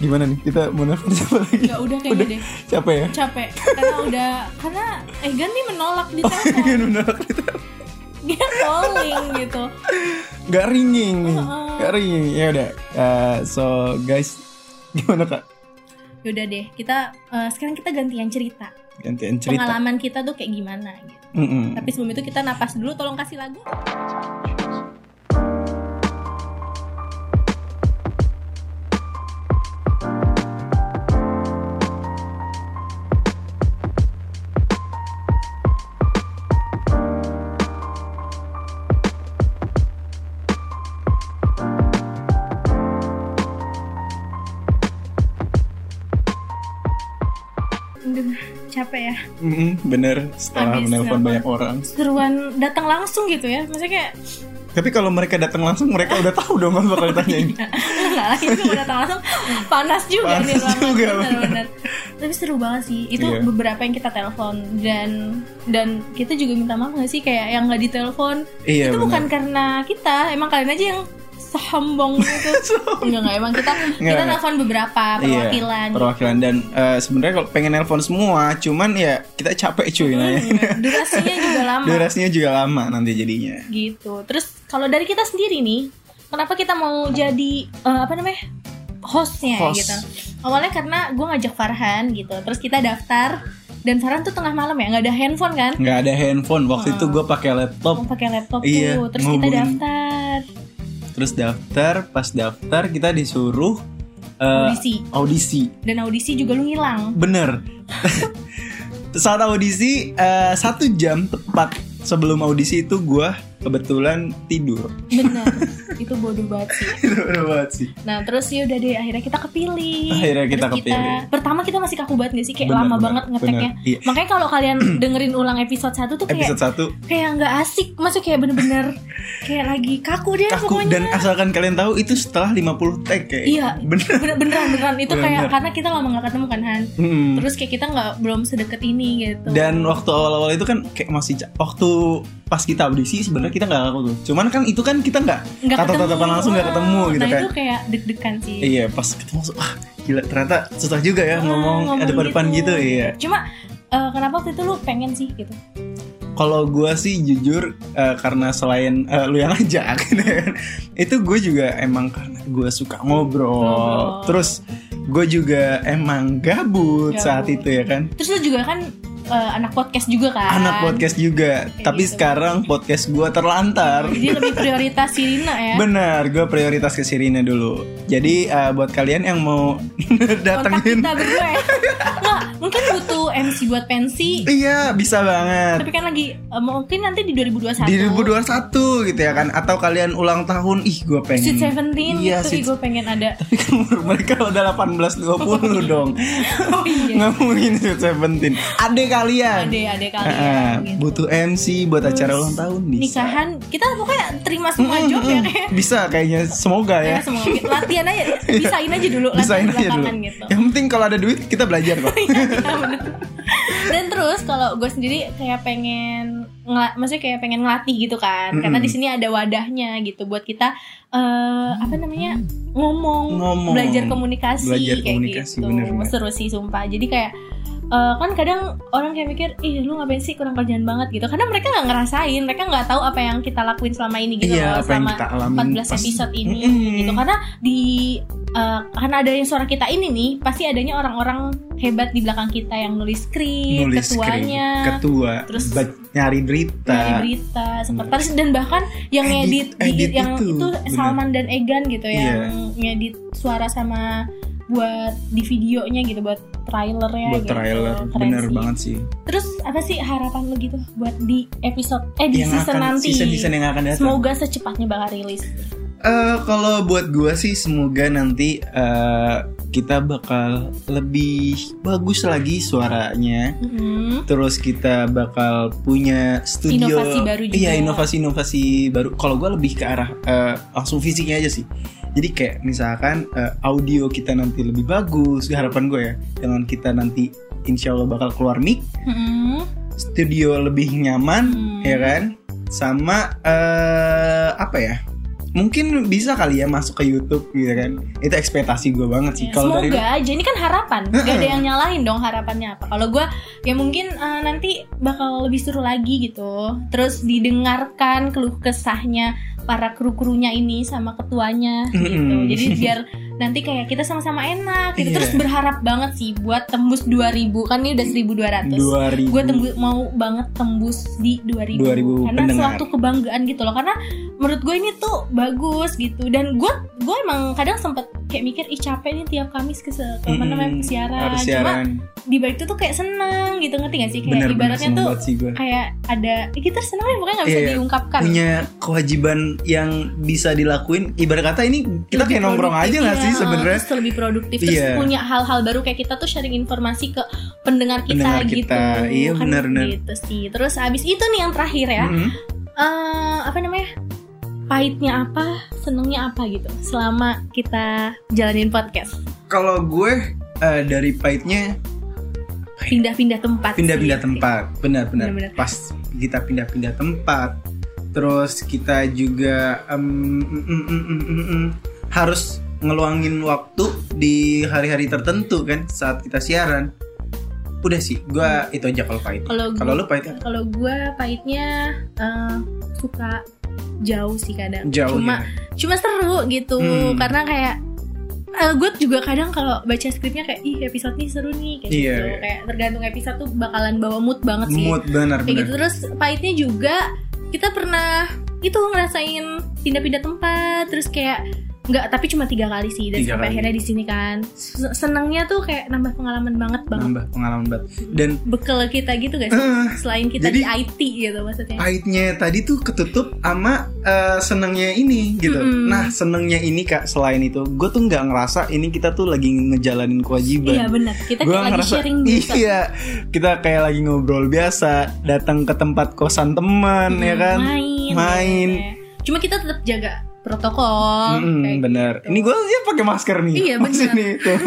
Speaker 2: Gimana nih? Kita mau nelfon siapa lagi?
Speaker 1: Nggak, Ya udah kayaknya deh.
Speaker 2: Siapa ya? [laughs]
Speaker 1: Capek karena udah karena Egan nih menolak di
Speaker 2: Gak
Speaker 1: telepon.
Speaker 2: menolak kita.
Speaker 1: Dia calling gitu.
Speaker 2: Nggak ringing nih.
Speaker 1: Heeh.
Speaker 2: Nggak ringing. Ya udah. Eh, so guys, [laughs] gimana kak?
Speaker 1: Yaudah deh, kita eh, sekarang kita gantian cerita.
Speaker 2: Gantian cerita.
Speaker 1: Pengalaman kita tuh kayak gimana gitu.
Speaker 2: Mm-mm.
Speaker 1: Tapi sebelum itu kita napas dulu tolong kasih lagu. Aduh, capek ya.
Speaker 2: Mm-mm, Bener. Setelah
Speaker 1: Habis
Speaker 2: menelpon
Speaker 1: nelpon.
Speaker 2: banyak orang.
Speaker 1: seruan datang langsung gitu ya maksudnya kayak [laughs]
Speaker 2: Tapi kalau mereka datang langsung, mereka udah tahu dong apa
Speaker 1: Iya.
Speaker 2: bakal ditanyain.
Speaker 1: nggak lah itu mau datang langsung panas juga gitu
Speaker 2: Panas
Speaker 1: nih ruangan.
Speaker 2: juga,
Speaker 1: Benar,
Speaker 2: benar.
Speaker 1: benar. tapi seru banget sih itu
Speaker 2: Iya.
Speaker 1: beberapa yang kita telepon dan dan kita juga minta maaf nggak sih kayak yang nggak ditelepon
Speaker 2: Iya,
Speaker 1: itu
Speaker 2: benar.
Speaker 1: bukan karena kita emang kalian aja yang sombong gitu
Speaker 2: [laughs]
Speaker 1: enggak enggak emang kita
Speaker 2: Nggak,
Speaker 1: kita
Speaker 2: nggak.
Speaker 1: telepon beberapa
Speaker 2: Iya,
Speaker 1: perwakilan
Speaker 2: perwakilan dan eh, sebenarnya kalau pengen nelpon semua, cuman ya kita capek cuy nanya.
Speaker 1: durasinya
Speaker 2: [laughs]
Speaker 1: juga lama
Speaker 2: Durasinya juga lama nanti jadinya.
Speaker 1: gitu terus kalau dari kita sendiri nih kenapa kita mau jadi eh, apa namanya hostnya
Speaker 2: Host.
Speaker 1: gitu awalnya karena gue ngajak Farhan gitu terus kita daftar dan Farhan tuh tengah malam ya nggak ada handphone kan
Speaker 2: nggak ada handphone waktu itu gue pakai
Speaker 1: mau
Speaker 2: laptop
Speaker 1: pakai laptop
Speaker 2: Iya,
Speaker 1: tuh terus kita
Speaker 2: ngubungin.
Speaker 1: daftar
Speaker 2: terus daftar pas daftar kita disuruh eh,
Speaker 1: Audisi.
Speaker 2: audisi
Speaker 1: dan audisi juga lu ngilang
Speaker 2: bener [laughs] saat audisi eh, satu jam tepat sebelum audisi itu gue kebetulan tidur
Speaker 1: bener [laughs] itu bodoh banget sih
Speaker 2: [laughs] Tidur banget sih
Speaker 1: nah terus ya udah deh akhirnya kita kepilih
Speaker 2: Akhirnya kita
Speaker 1: Terus
Speaker 2: kepilih.
Speaker 1: pertama kita masih kaku banget gak sih kayak
Speaker 2: Bener,
Speaker 1: lama
Speaker 2: bener,
Speaker 1: banget ngeteknya
Speaker 2: bener. Iya.
Speaker 1: makanya kalau
Speaker 2: [clears throat]
Speaker 1: kalian dengerin ulang episode 1 tuh kayak
Speaker 2: episode satu
Speaker 1: kayak nggak asik masuk kayak bener-bener kayak lagi kaku dia
Speaker 2: kaku
Speaker 1: Iya, pokoknya
Speaker 2: dan asalkan kalian tahu itu setelah 50 tag kayak
Speaker 1: iya
Speaker 2: bener
Speaker 1: bener beneran beneran itu
Speaker 2: Bener.
Speaker 1: kayak karena kita lama nggak ketemu kan Han
Speaker 2: Mm.
Speaker 1: terus kayak kita nggak belum sedekat ini gitu
Speaker 2: Dan waktu awal-awal itu kan kayak masih ca- waktu pas kita audisi sebenarnya kita nggak ngaku tuh. Cuman kan itu kan kita nggak
Speaker 1: Nggak
Speaker 2: kata tatapan
Speaker 1: ketemu.
Speaker 2: langsung nggak ketemu
Speaker 1: Ah,
Speaker 2: gitu
Speaker 1: nah,
Speaker 2: kan.
Speaker 1: itu kayak deg-degan sih
Speaker 2: Iya pas ketemu langsung, wah gila ternyata susah juga ya
Speaker 1: Ah,
Speaker 2: ngomong, depan-depan gitu. iya.
Speaker 1: cuma eh, kenapa waktu itu lu pengen sih gitu
Speaker 2: Kalau gua sih jujur eh, karena selain eh, lu yang ngajak [laughs] gitu kan, itu gue juga emang karena gue suka ngobrol.
Speaker 1: Ngobrol.
Speaker 2: Terus gue juga emang gabut,
Speaker 1: Gabut.
Speaker 2: saat itu ya kan.
Speaker 1: terus lu juga kan eh, anak podcast juga kan
Speaker 2: Anak podcast juga,
Speaker 1: Kayak gitu.
Speaker 2: tapi
Speaker 1: Iya.
Speaker 2: sekarang podcast gua terlantar.
Speaker 1: jadi lebih prioritas Sirina ya
Speaker 2: Benar, gue prioritas ke Sirina dulu. Jadi eh, buat kalian yang mau [laughs]
Speaker 1: kontak
Speaker 2: datengin,
Speaker 1: kita berdua ya Nggak, mungkin butuh MC buat pensi
Speaker 2: iya bisa banget.
Speaker 1: tapi kan lagi eh, mungkin nanti di 2021
Speaker 2: Di 2021 gitu ya kan? Atau kalian ulang tahun? Ih, gue pengen.
Speaker 1: Sweet Seventeen
Speaker 2: Iya,
Speaker 1: gitu,
Speaker 2: Sweet-
Speaker 1: gue pengen ada
Speaker 2: Tapi kan umur mereka udah 18-20 dong.
Speaker 1: iya. Oh iya
Speaker 2: Nggak mungkin Sweet Seventeen. Adek kalian.
Speaker 1: Ade-ade kali
Speaker 2: Eh,
Speaker 1: ya,
Speaker 2: eh,
Speaker 1: gitu.
Speaker 2: Butuh MC buat acara ulang tahun bisa.
Speaker 1: Nikahan, kita pokoknya terima semua
Speaker 2: Mm,
Speaker 1: job ya
Speaker 2: mm,
Speaker 1: kayak
Speaker 2: Bisa kayaknya, semoga ya.
Speaker 1: Ya, semua gitu. latihan
Speaker 2: [laughs]
Speaker 1: aja, bisain aja dulu latihan
Speaker 2: Bisain aja dulu.
Speaker 1: belakangan gitu
Speaker 2: Yang penting kalau ada duit kita belajar
Speaker 1: [laughs]
Speaker 2: kok.
Speaker 1: Iya, bener. Dan terus kalau gue sendiri kayak pengen ngela- maksudnya kayak pengen ngelatih gitu kan. Karena
Speaker 2: Mm-mm.
Speaker 1: di sini ada wadahnya gitu buat kita eh apa namanya? ngomong,
Speaker 2: Ngomong.
Speaker 1: belajar komunikasi
Speaker 2: Belajar
Speaker 1: kayak
Speaker 2: komunikasi,
Speaker 1: gitu.
Speaker 2: bener-bener.
Speaker 1: Seru sih sumpah. Jadi kayak eh, kan kadang orang kayak mikir, ih lu ngapain sih kurang kerjaan banget gitu. Karena mereka nggak ngerasain, mereka nggak tahu apa yang kita lakuin selama ini gitu.
Speaker 2: Iya,
Speaker 1: loh,
Speaker 2: apa yang
Speaker 1: selama
Speaker 2: kita alamin
Speaker 1: 14
Speaker 2: pas-
Speaker 1: episode ini
Speaker 2: Mm-mm.
Speaker 1: gitu karena di eh, karena adanya suara kita ini nih pasti adanya orang-orang hebat di belakang kita yang nulis skrip
Speaker 2: nulis
Speaker 1: Iya, ketuanya
Speaker 2: skrip, ketua
Speaker 1: terus
Speaker 2: ba- nyari berita
Speaker 1: dari berita sekretaris dan bahkan yang
Speaker 2: Hmm. Edit-
Speaker 1: ngedit, di-
Speaker 2: edit
Speaker 1: yang
Speaker 2: itu,
Speaker 1: itu,
Speaker 2: bener.
Speaker 1: Salman dan Egan gitu
Speaker 2: Iya.
Speaker 1: yang ngedit suara sama buat di videonya gitu buat trailernya
Speaker 2: buat
Speaker 1: gitu.
Speaker 2: trailer
Speaker 1: Keren
Speaker 2: bener
Speaker 1: sih.
Speaker 2: banget sih
Speaker 1: terus apa sih harapan lo gitu buat di episode eh di
Speaker 2: yang
Speaker 1: season
Speaker 2: akan
Speaker 1: nanti
Speaker 2: season season yang akan datang
Speaker 1: semoga secepatnya bakal rilis
Speaker 2: Eh, kalau buat gua sih semoga nanti eh, kita bakal lebih bagus lagi suaranya.
Speaker 1: Mm-mm.
Speaker 2: Terus kita bakal punya studio
Speaker 1: Inovasi baru juga. ya.
Speaker 2: Iya, inovasi-inovasi baru. Kalau gua lebih ke arah eh, langsung fisiknya aja sih. Jadi kayak misalkan eh, audio kita nanti lebih bagus, harapan gue ya. Dengan kita nanti insya Allah bakal keluar mic,
Speaker 1: Mm-mm.
Speaker 2: studio lebih nyaman,
Speaker 1: Hmm.
Speaker 2: ya kan? Sama eh apa ya? Mungkin bisa kali ya masuk ke YouTube gitu kan? Itu ekspektasi gue banget sih.
Speaker 1: Ya,
Speaker 2: Kalau
Speaker 1: semoga
Speaker 2: dari
Speaker 1: aja ini kan harapan, gak ada yang nyalahin dong harapannya apa. Kalau gue ya mungkin eh, nanti bakal lebih seru lagi gitu. Terus didengarkan keluh kesahnya para kru krunya ini sama ketuanya gitu.
Speaker 2: Mm-mm.
Speaker 1: Jadi
Speaker 2: [laughs]
Speaker 1: biar nanti kayak kita sama-sama enak. Gitu.
Speaker 2: Iya.
Speaker 1: Terus berharap banget sih buat tembus 2000 kan ini udah 1200.
Speaker 2: 2000
Speaker 1: Gue tembus mau banget tembus di 2000,
Speaker 2: 2000
Speaker 1: karena
Speaker 2: pendengar.
Speaker 1: suatu kebanggaan gitu loh. Karena menurut gue ini tuh bagus gitu dan gue gue emang kadang sempet kayak mikir ih capek nih tiap Kamis ke, se- ke apa
Speaker 2: Mm-mm,
Speaker 1: namanya ke siaran.
Speaker 2: Hmm, harus
Speaker 1: cuma
Speaker 2: siaran.
Speaker 1: di balik itu tuh kayak seneng gitu ngerti gak sih kayak
Speaker 2: Bener-bener
Speaker 1: ibaratnya
Speaker 2: seneng
Speaker 1: tuh
Speaker 2: banget sih gue.
Speaker 1: kayak ada "Ih, kita seneng deh pokoknya nggak bisa
Speaker 2: Iya, iya.
Speaker 1: diungkapkan
Speaker 2: punya kewajiban yang bisa dilakuin ibarat kata ini kita
Speaker 1: Lebih
Speaker 2: kayak nongkrong aja
Speaker 1: produktif,
Speaker 2: nggak
Speaker 1: iya,
Speaker 2: sih sebenarnya
Speaker 1: terus lebih produktif terus
Speaker 2: Iya.
Speaker 1: punya hal-hal baru kayak kita tuh sharing informasi ke pendengar kita
Speaker 2: Pendengar
Speaker 1: gitu
Speaker 2: kita. Iya,
Speaker 1: Kan
Speaker 2: benar-benar.
Speaker 1: gitu sih terus abis itu nih yang terakhir ya
Speaker 2: Mm-mm.
Speaker 1: eh apa namanya pahitnya apa senengnya apa gitu selama kita jalanin podcast
Speaker 2: kalau gue eh, dari pahitnya
Speaker 1: pindah-pindah tempat
Speaker 2: pindah-pindah
Speaker 1: sih.
Speaker 2: tempat benar-benar
Speaker 1: Benar-benar.
Speaker 2: pas kita pindah-pindah tempat terus kita juga em, mm, mm, mm, mm, mm, mm, harus ngeluangin waktu di hari-hari tertentu kan saat kita siaran udah sih gue
Speaker 1: Hmm.
Speaker 2: itu aja kalau pahit
Speaker 1: Kalau gue-
Speaker 2: kalau lu pahit
Speaker 1: kalau gue pahitnya eh, suka jauh sih kadang
Speaker 2: jauh
Speaker 1: cuma
Speaker 2: ya.
Speaker 1: cuma seru gitu
Speaker 2: Hmm.
Speaker 1: karena kayak eh, gue juga kadang kalau baca skripnya kayak ih episode ini seru nih kayak
Speaker 2: Iya,
Speaker 1: gitu
Speaker 2: iya.
Speaker 1: kayak tergantung episode tuh bakalan bawa mood banget sih
Speaker 2: mood
Speaker 1: kayak gitu
Speaker 2: benar-benar
Speaker 1: terus pahitnya juga kita pernah itu ngerasain pindah-pindah tempat terus kayak nggak tapi cuma tiga kali sih dan
Speaker 2: Tiga
Speaker 1: sampai
Speaker 2: kali.
Speaker 1: akhirnya di sini kan Se- senengnya tuh kayak nambah pengalaman banget banget Hmm.
Speaker 2: nambah pengalaman banget dan
Speaker 1: bekal kita gitu guys
Speaker 2: Hmm. Eh,
Speaker 1: selain kita di
Speaker 2: jadi-
Speaker 1: IT gitu maksudnya
Speaker 2: pahitnya tadi tuh ketutup sama eh, senengnya ini gitu.
Speaker 1: Mm-mm.
Speaker 2: Nah senengnya ini kak selain itu, gue tuh nggak ngerasa ini kita tuh lagi ngejalanin kewajiban.
Speaker 1: Iya benar. Kita
Speaker 2: Gua
Speaker 1: kayak lagi
Speaker 2: ngerasa-
Speaker 1: sharing biasa.
Speaker 2: Iya, kita kayak lagi ngobrol biasa, datang ke tempat kosan teman ya
Speaker 1: Hmm.
Speaker 2: kan.
Speaker 1: Main.
Speaker 2: Main.
Speaker 1: ya. Cuma kita tetap jaga protokol. Oh,
Speaker 2: Mm-mm,
Speaker 1: kayak
Speaker 2: bener.
Speaker 1: gitu.
Speaker 2: Hmm, Ini gue ya pakai masker nih. [laughs]
Speaker 1: Iya,
Speaker 2: Pas
Speaker 1: bener.
Speaker 2: ini tuh.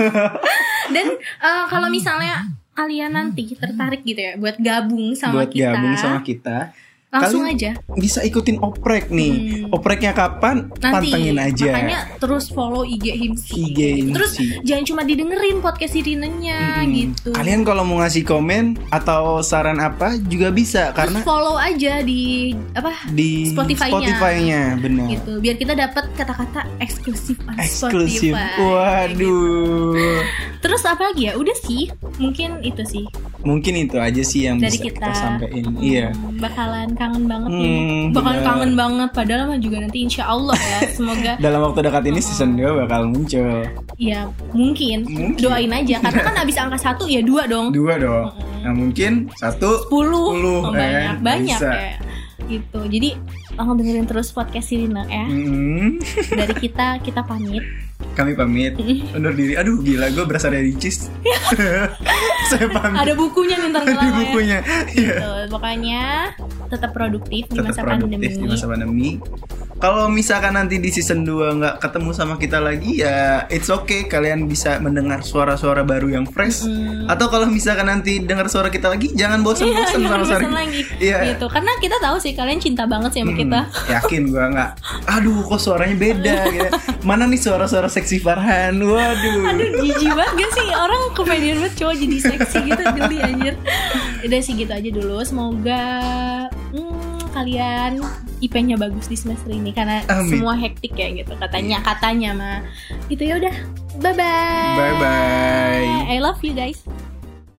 Speaker 1: Dan eh, kalau misalnya kalian nanti tertarik gitu ya buat gabung sama
Speaker 2: [laughs] Buat
Speaker 1: kita,
Speaker 2: gabung sama kita,
Speaker 1: langsung
Speaker 2: kalian-
Speaker 1: aja
Speaker 2: bisa ikutin oprek nih.
Speaker 1: Hmm.
Speaker 2: Opreknya kapan?
Speaker 1: nanti.
Speaker 2: Pantengin aja.
Speaker 1: Makanya terus follow IG Himsi.
Speaker 2: IG Himsi.
Speaker 1: Terus jangan cuma didengerin podcast Irinanya
Speaker 2: Mm-mm.
Speaker 1: gitu.
Speaker 2: Hmm. Kalian kalau mau ngasih komen atau saran apa juga bisa
Speaker 1: terus
Speaker 2: karena
Speaker 1: follow aja di apa
Speaker 2: di
Speaker 1: Spotify-nya.
Speaker 2: Spotify-nya benar.
Speaker 1: gitu biar kita dapat kata-kata eksklusif on
Speaker 2: Eksklusif.
Speaker 1: Spotify. gitu.
Speaker 2: Waduh.
Speaker 1: Terus apa lagi ya? Udah sih, mungkin itu sih
Speaker 2: Mungkin itu aja sih yang
Speaker 1: dari
Speaker 2: bisa
Speaker 1: kita.
Speaker 2: kita, sampaikan. Iya.
Speaker 1: Hmm, Bakalan kangen banget ya.
Speaker 2: Hmm,
Speaker 1: Bakalan
Speaker 2: bener.
Speaker 1: kangen banget. Padahal mah juga nanti insya Allah ya. Semoga [laughs]
Speaker 2: Dalam waktu dekat ini season 2 bakal muncul.
Speaker 1: ya mungkin.
Speaker 2: Mungkin.
Speaker 1: Doain aja. Karena kan abis angka satu ya dua dong.
Speaker 2: Dua dong.
Speaker 1: Mm-mm.
Speaker 2: Nah, mungkin satu
Speaker 1: Sepuluh.
Speaker 2: Sepuluh,
Speaker 1: Oh,
Speaker 2: eh,
Speaker 1: banyak. banyak
Speaker 2: bisa.
Speaker 1: ya. Gitu. Jadi langsung dengerin terus podcast Sirina ya.
Speaker 2: [laughs] Mm-mm.
Speaker 1: Dari kita, kita pamit.
Speaker 2: [laughs] Kami pamit Undur diri Aduh gila gue berasa dari
Speaker 1: [laughs]
Speaker 2: cheese Saya pamit
Speaker 1: Ada bukunya nih ntar
Speaker 2: Di
Speaker 1: kelar ya.
Speaker 2: bukunya Iya
Speaker 1: Gitu. Pokoknya tetap produktif di
Speaker 2: tetap
Speaker 1: masa
Speaker 2: produktif
Speaker 1: pandemi.
Speaker 2: di masa pandemi. Kalau misalkan nanti di season 2 nggak ketemu sama kita lagi ya it's okay kalian bisa mendengar suara-suara baru yang fresh.
Speaker 1: Mm.
Speaker 2: Atau kalau misalkan nanti dengar suara kita lagi
Speaker 1: Iya,
Speaker 2: jangan bosan-bosan
Speaker 1: jangan
Speaker 2: sama suara.
Speaker 1: bosan lagi
Speaker 2: Iya.
Speaker 1: gitu karena kita tahu sih kalian cinta banget sih sama kita
Speaker 2: Mm, yakin gua nggak. Aduh kok suaranya beda gitu. Mana nih suara-suara seksi Farhan?
Speaker 1: aduh
Speaker 2: Waduh.
Speaker 1: jijik banget gak sih orang komedian banget cowok jadi seksi gitu geli anjir udah sih gitu aja dulu semoga hmm, kalian IP-nya bagus di semester ini karena
Speaker 2: Amin.
Speaker 1: semua hektik ya gitu katanya katanya mah gitu ya udah bye bye
Speaker 2: Bye
Speaker 1: I
Speaker 2: bye.
Speaker 1: love you guys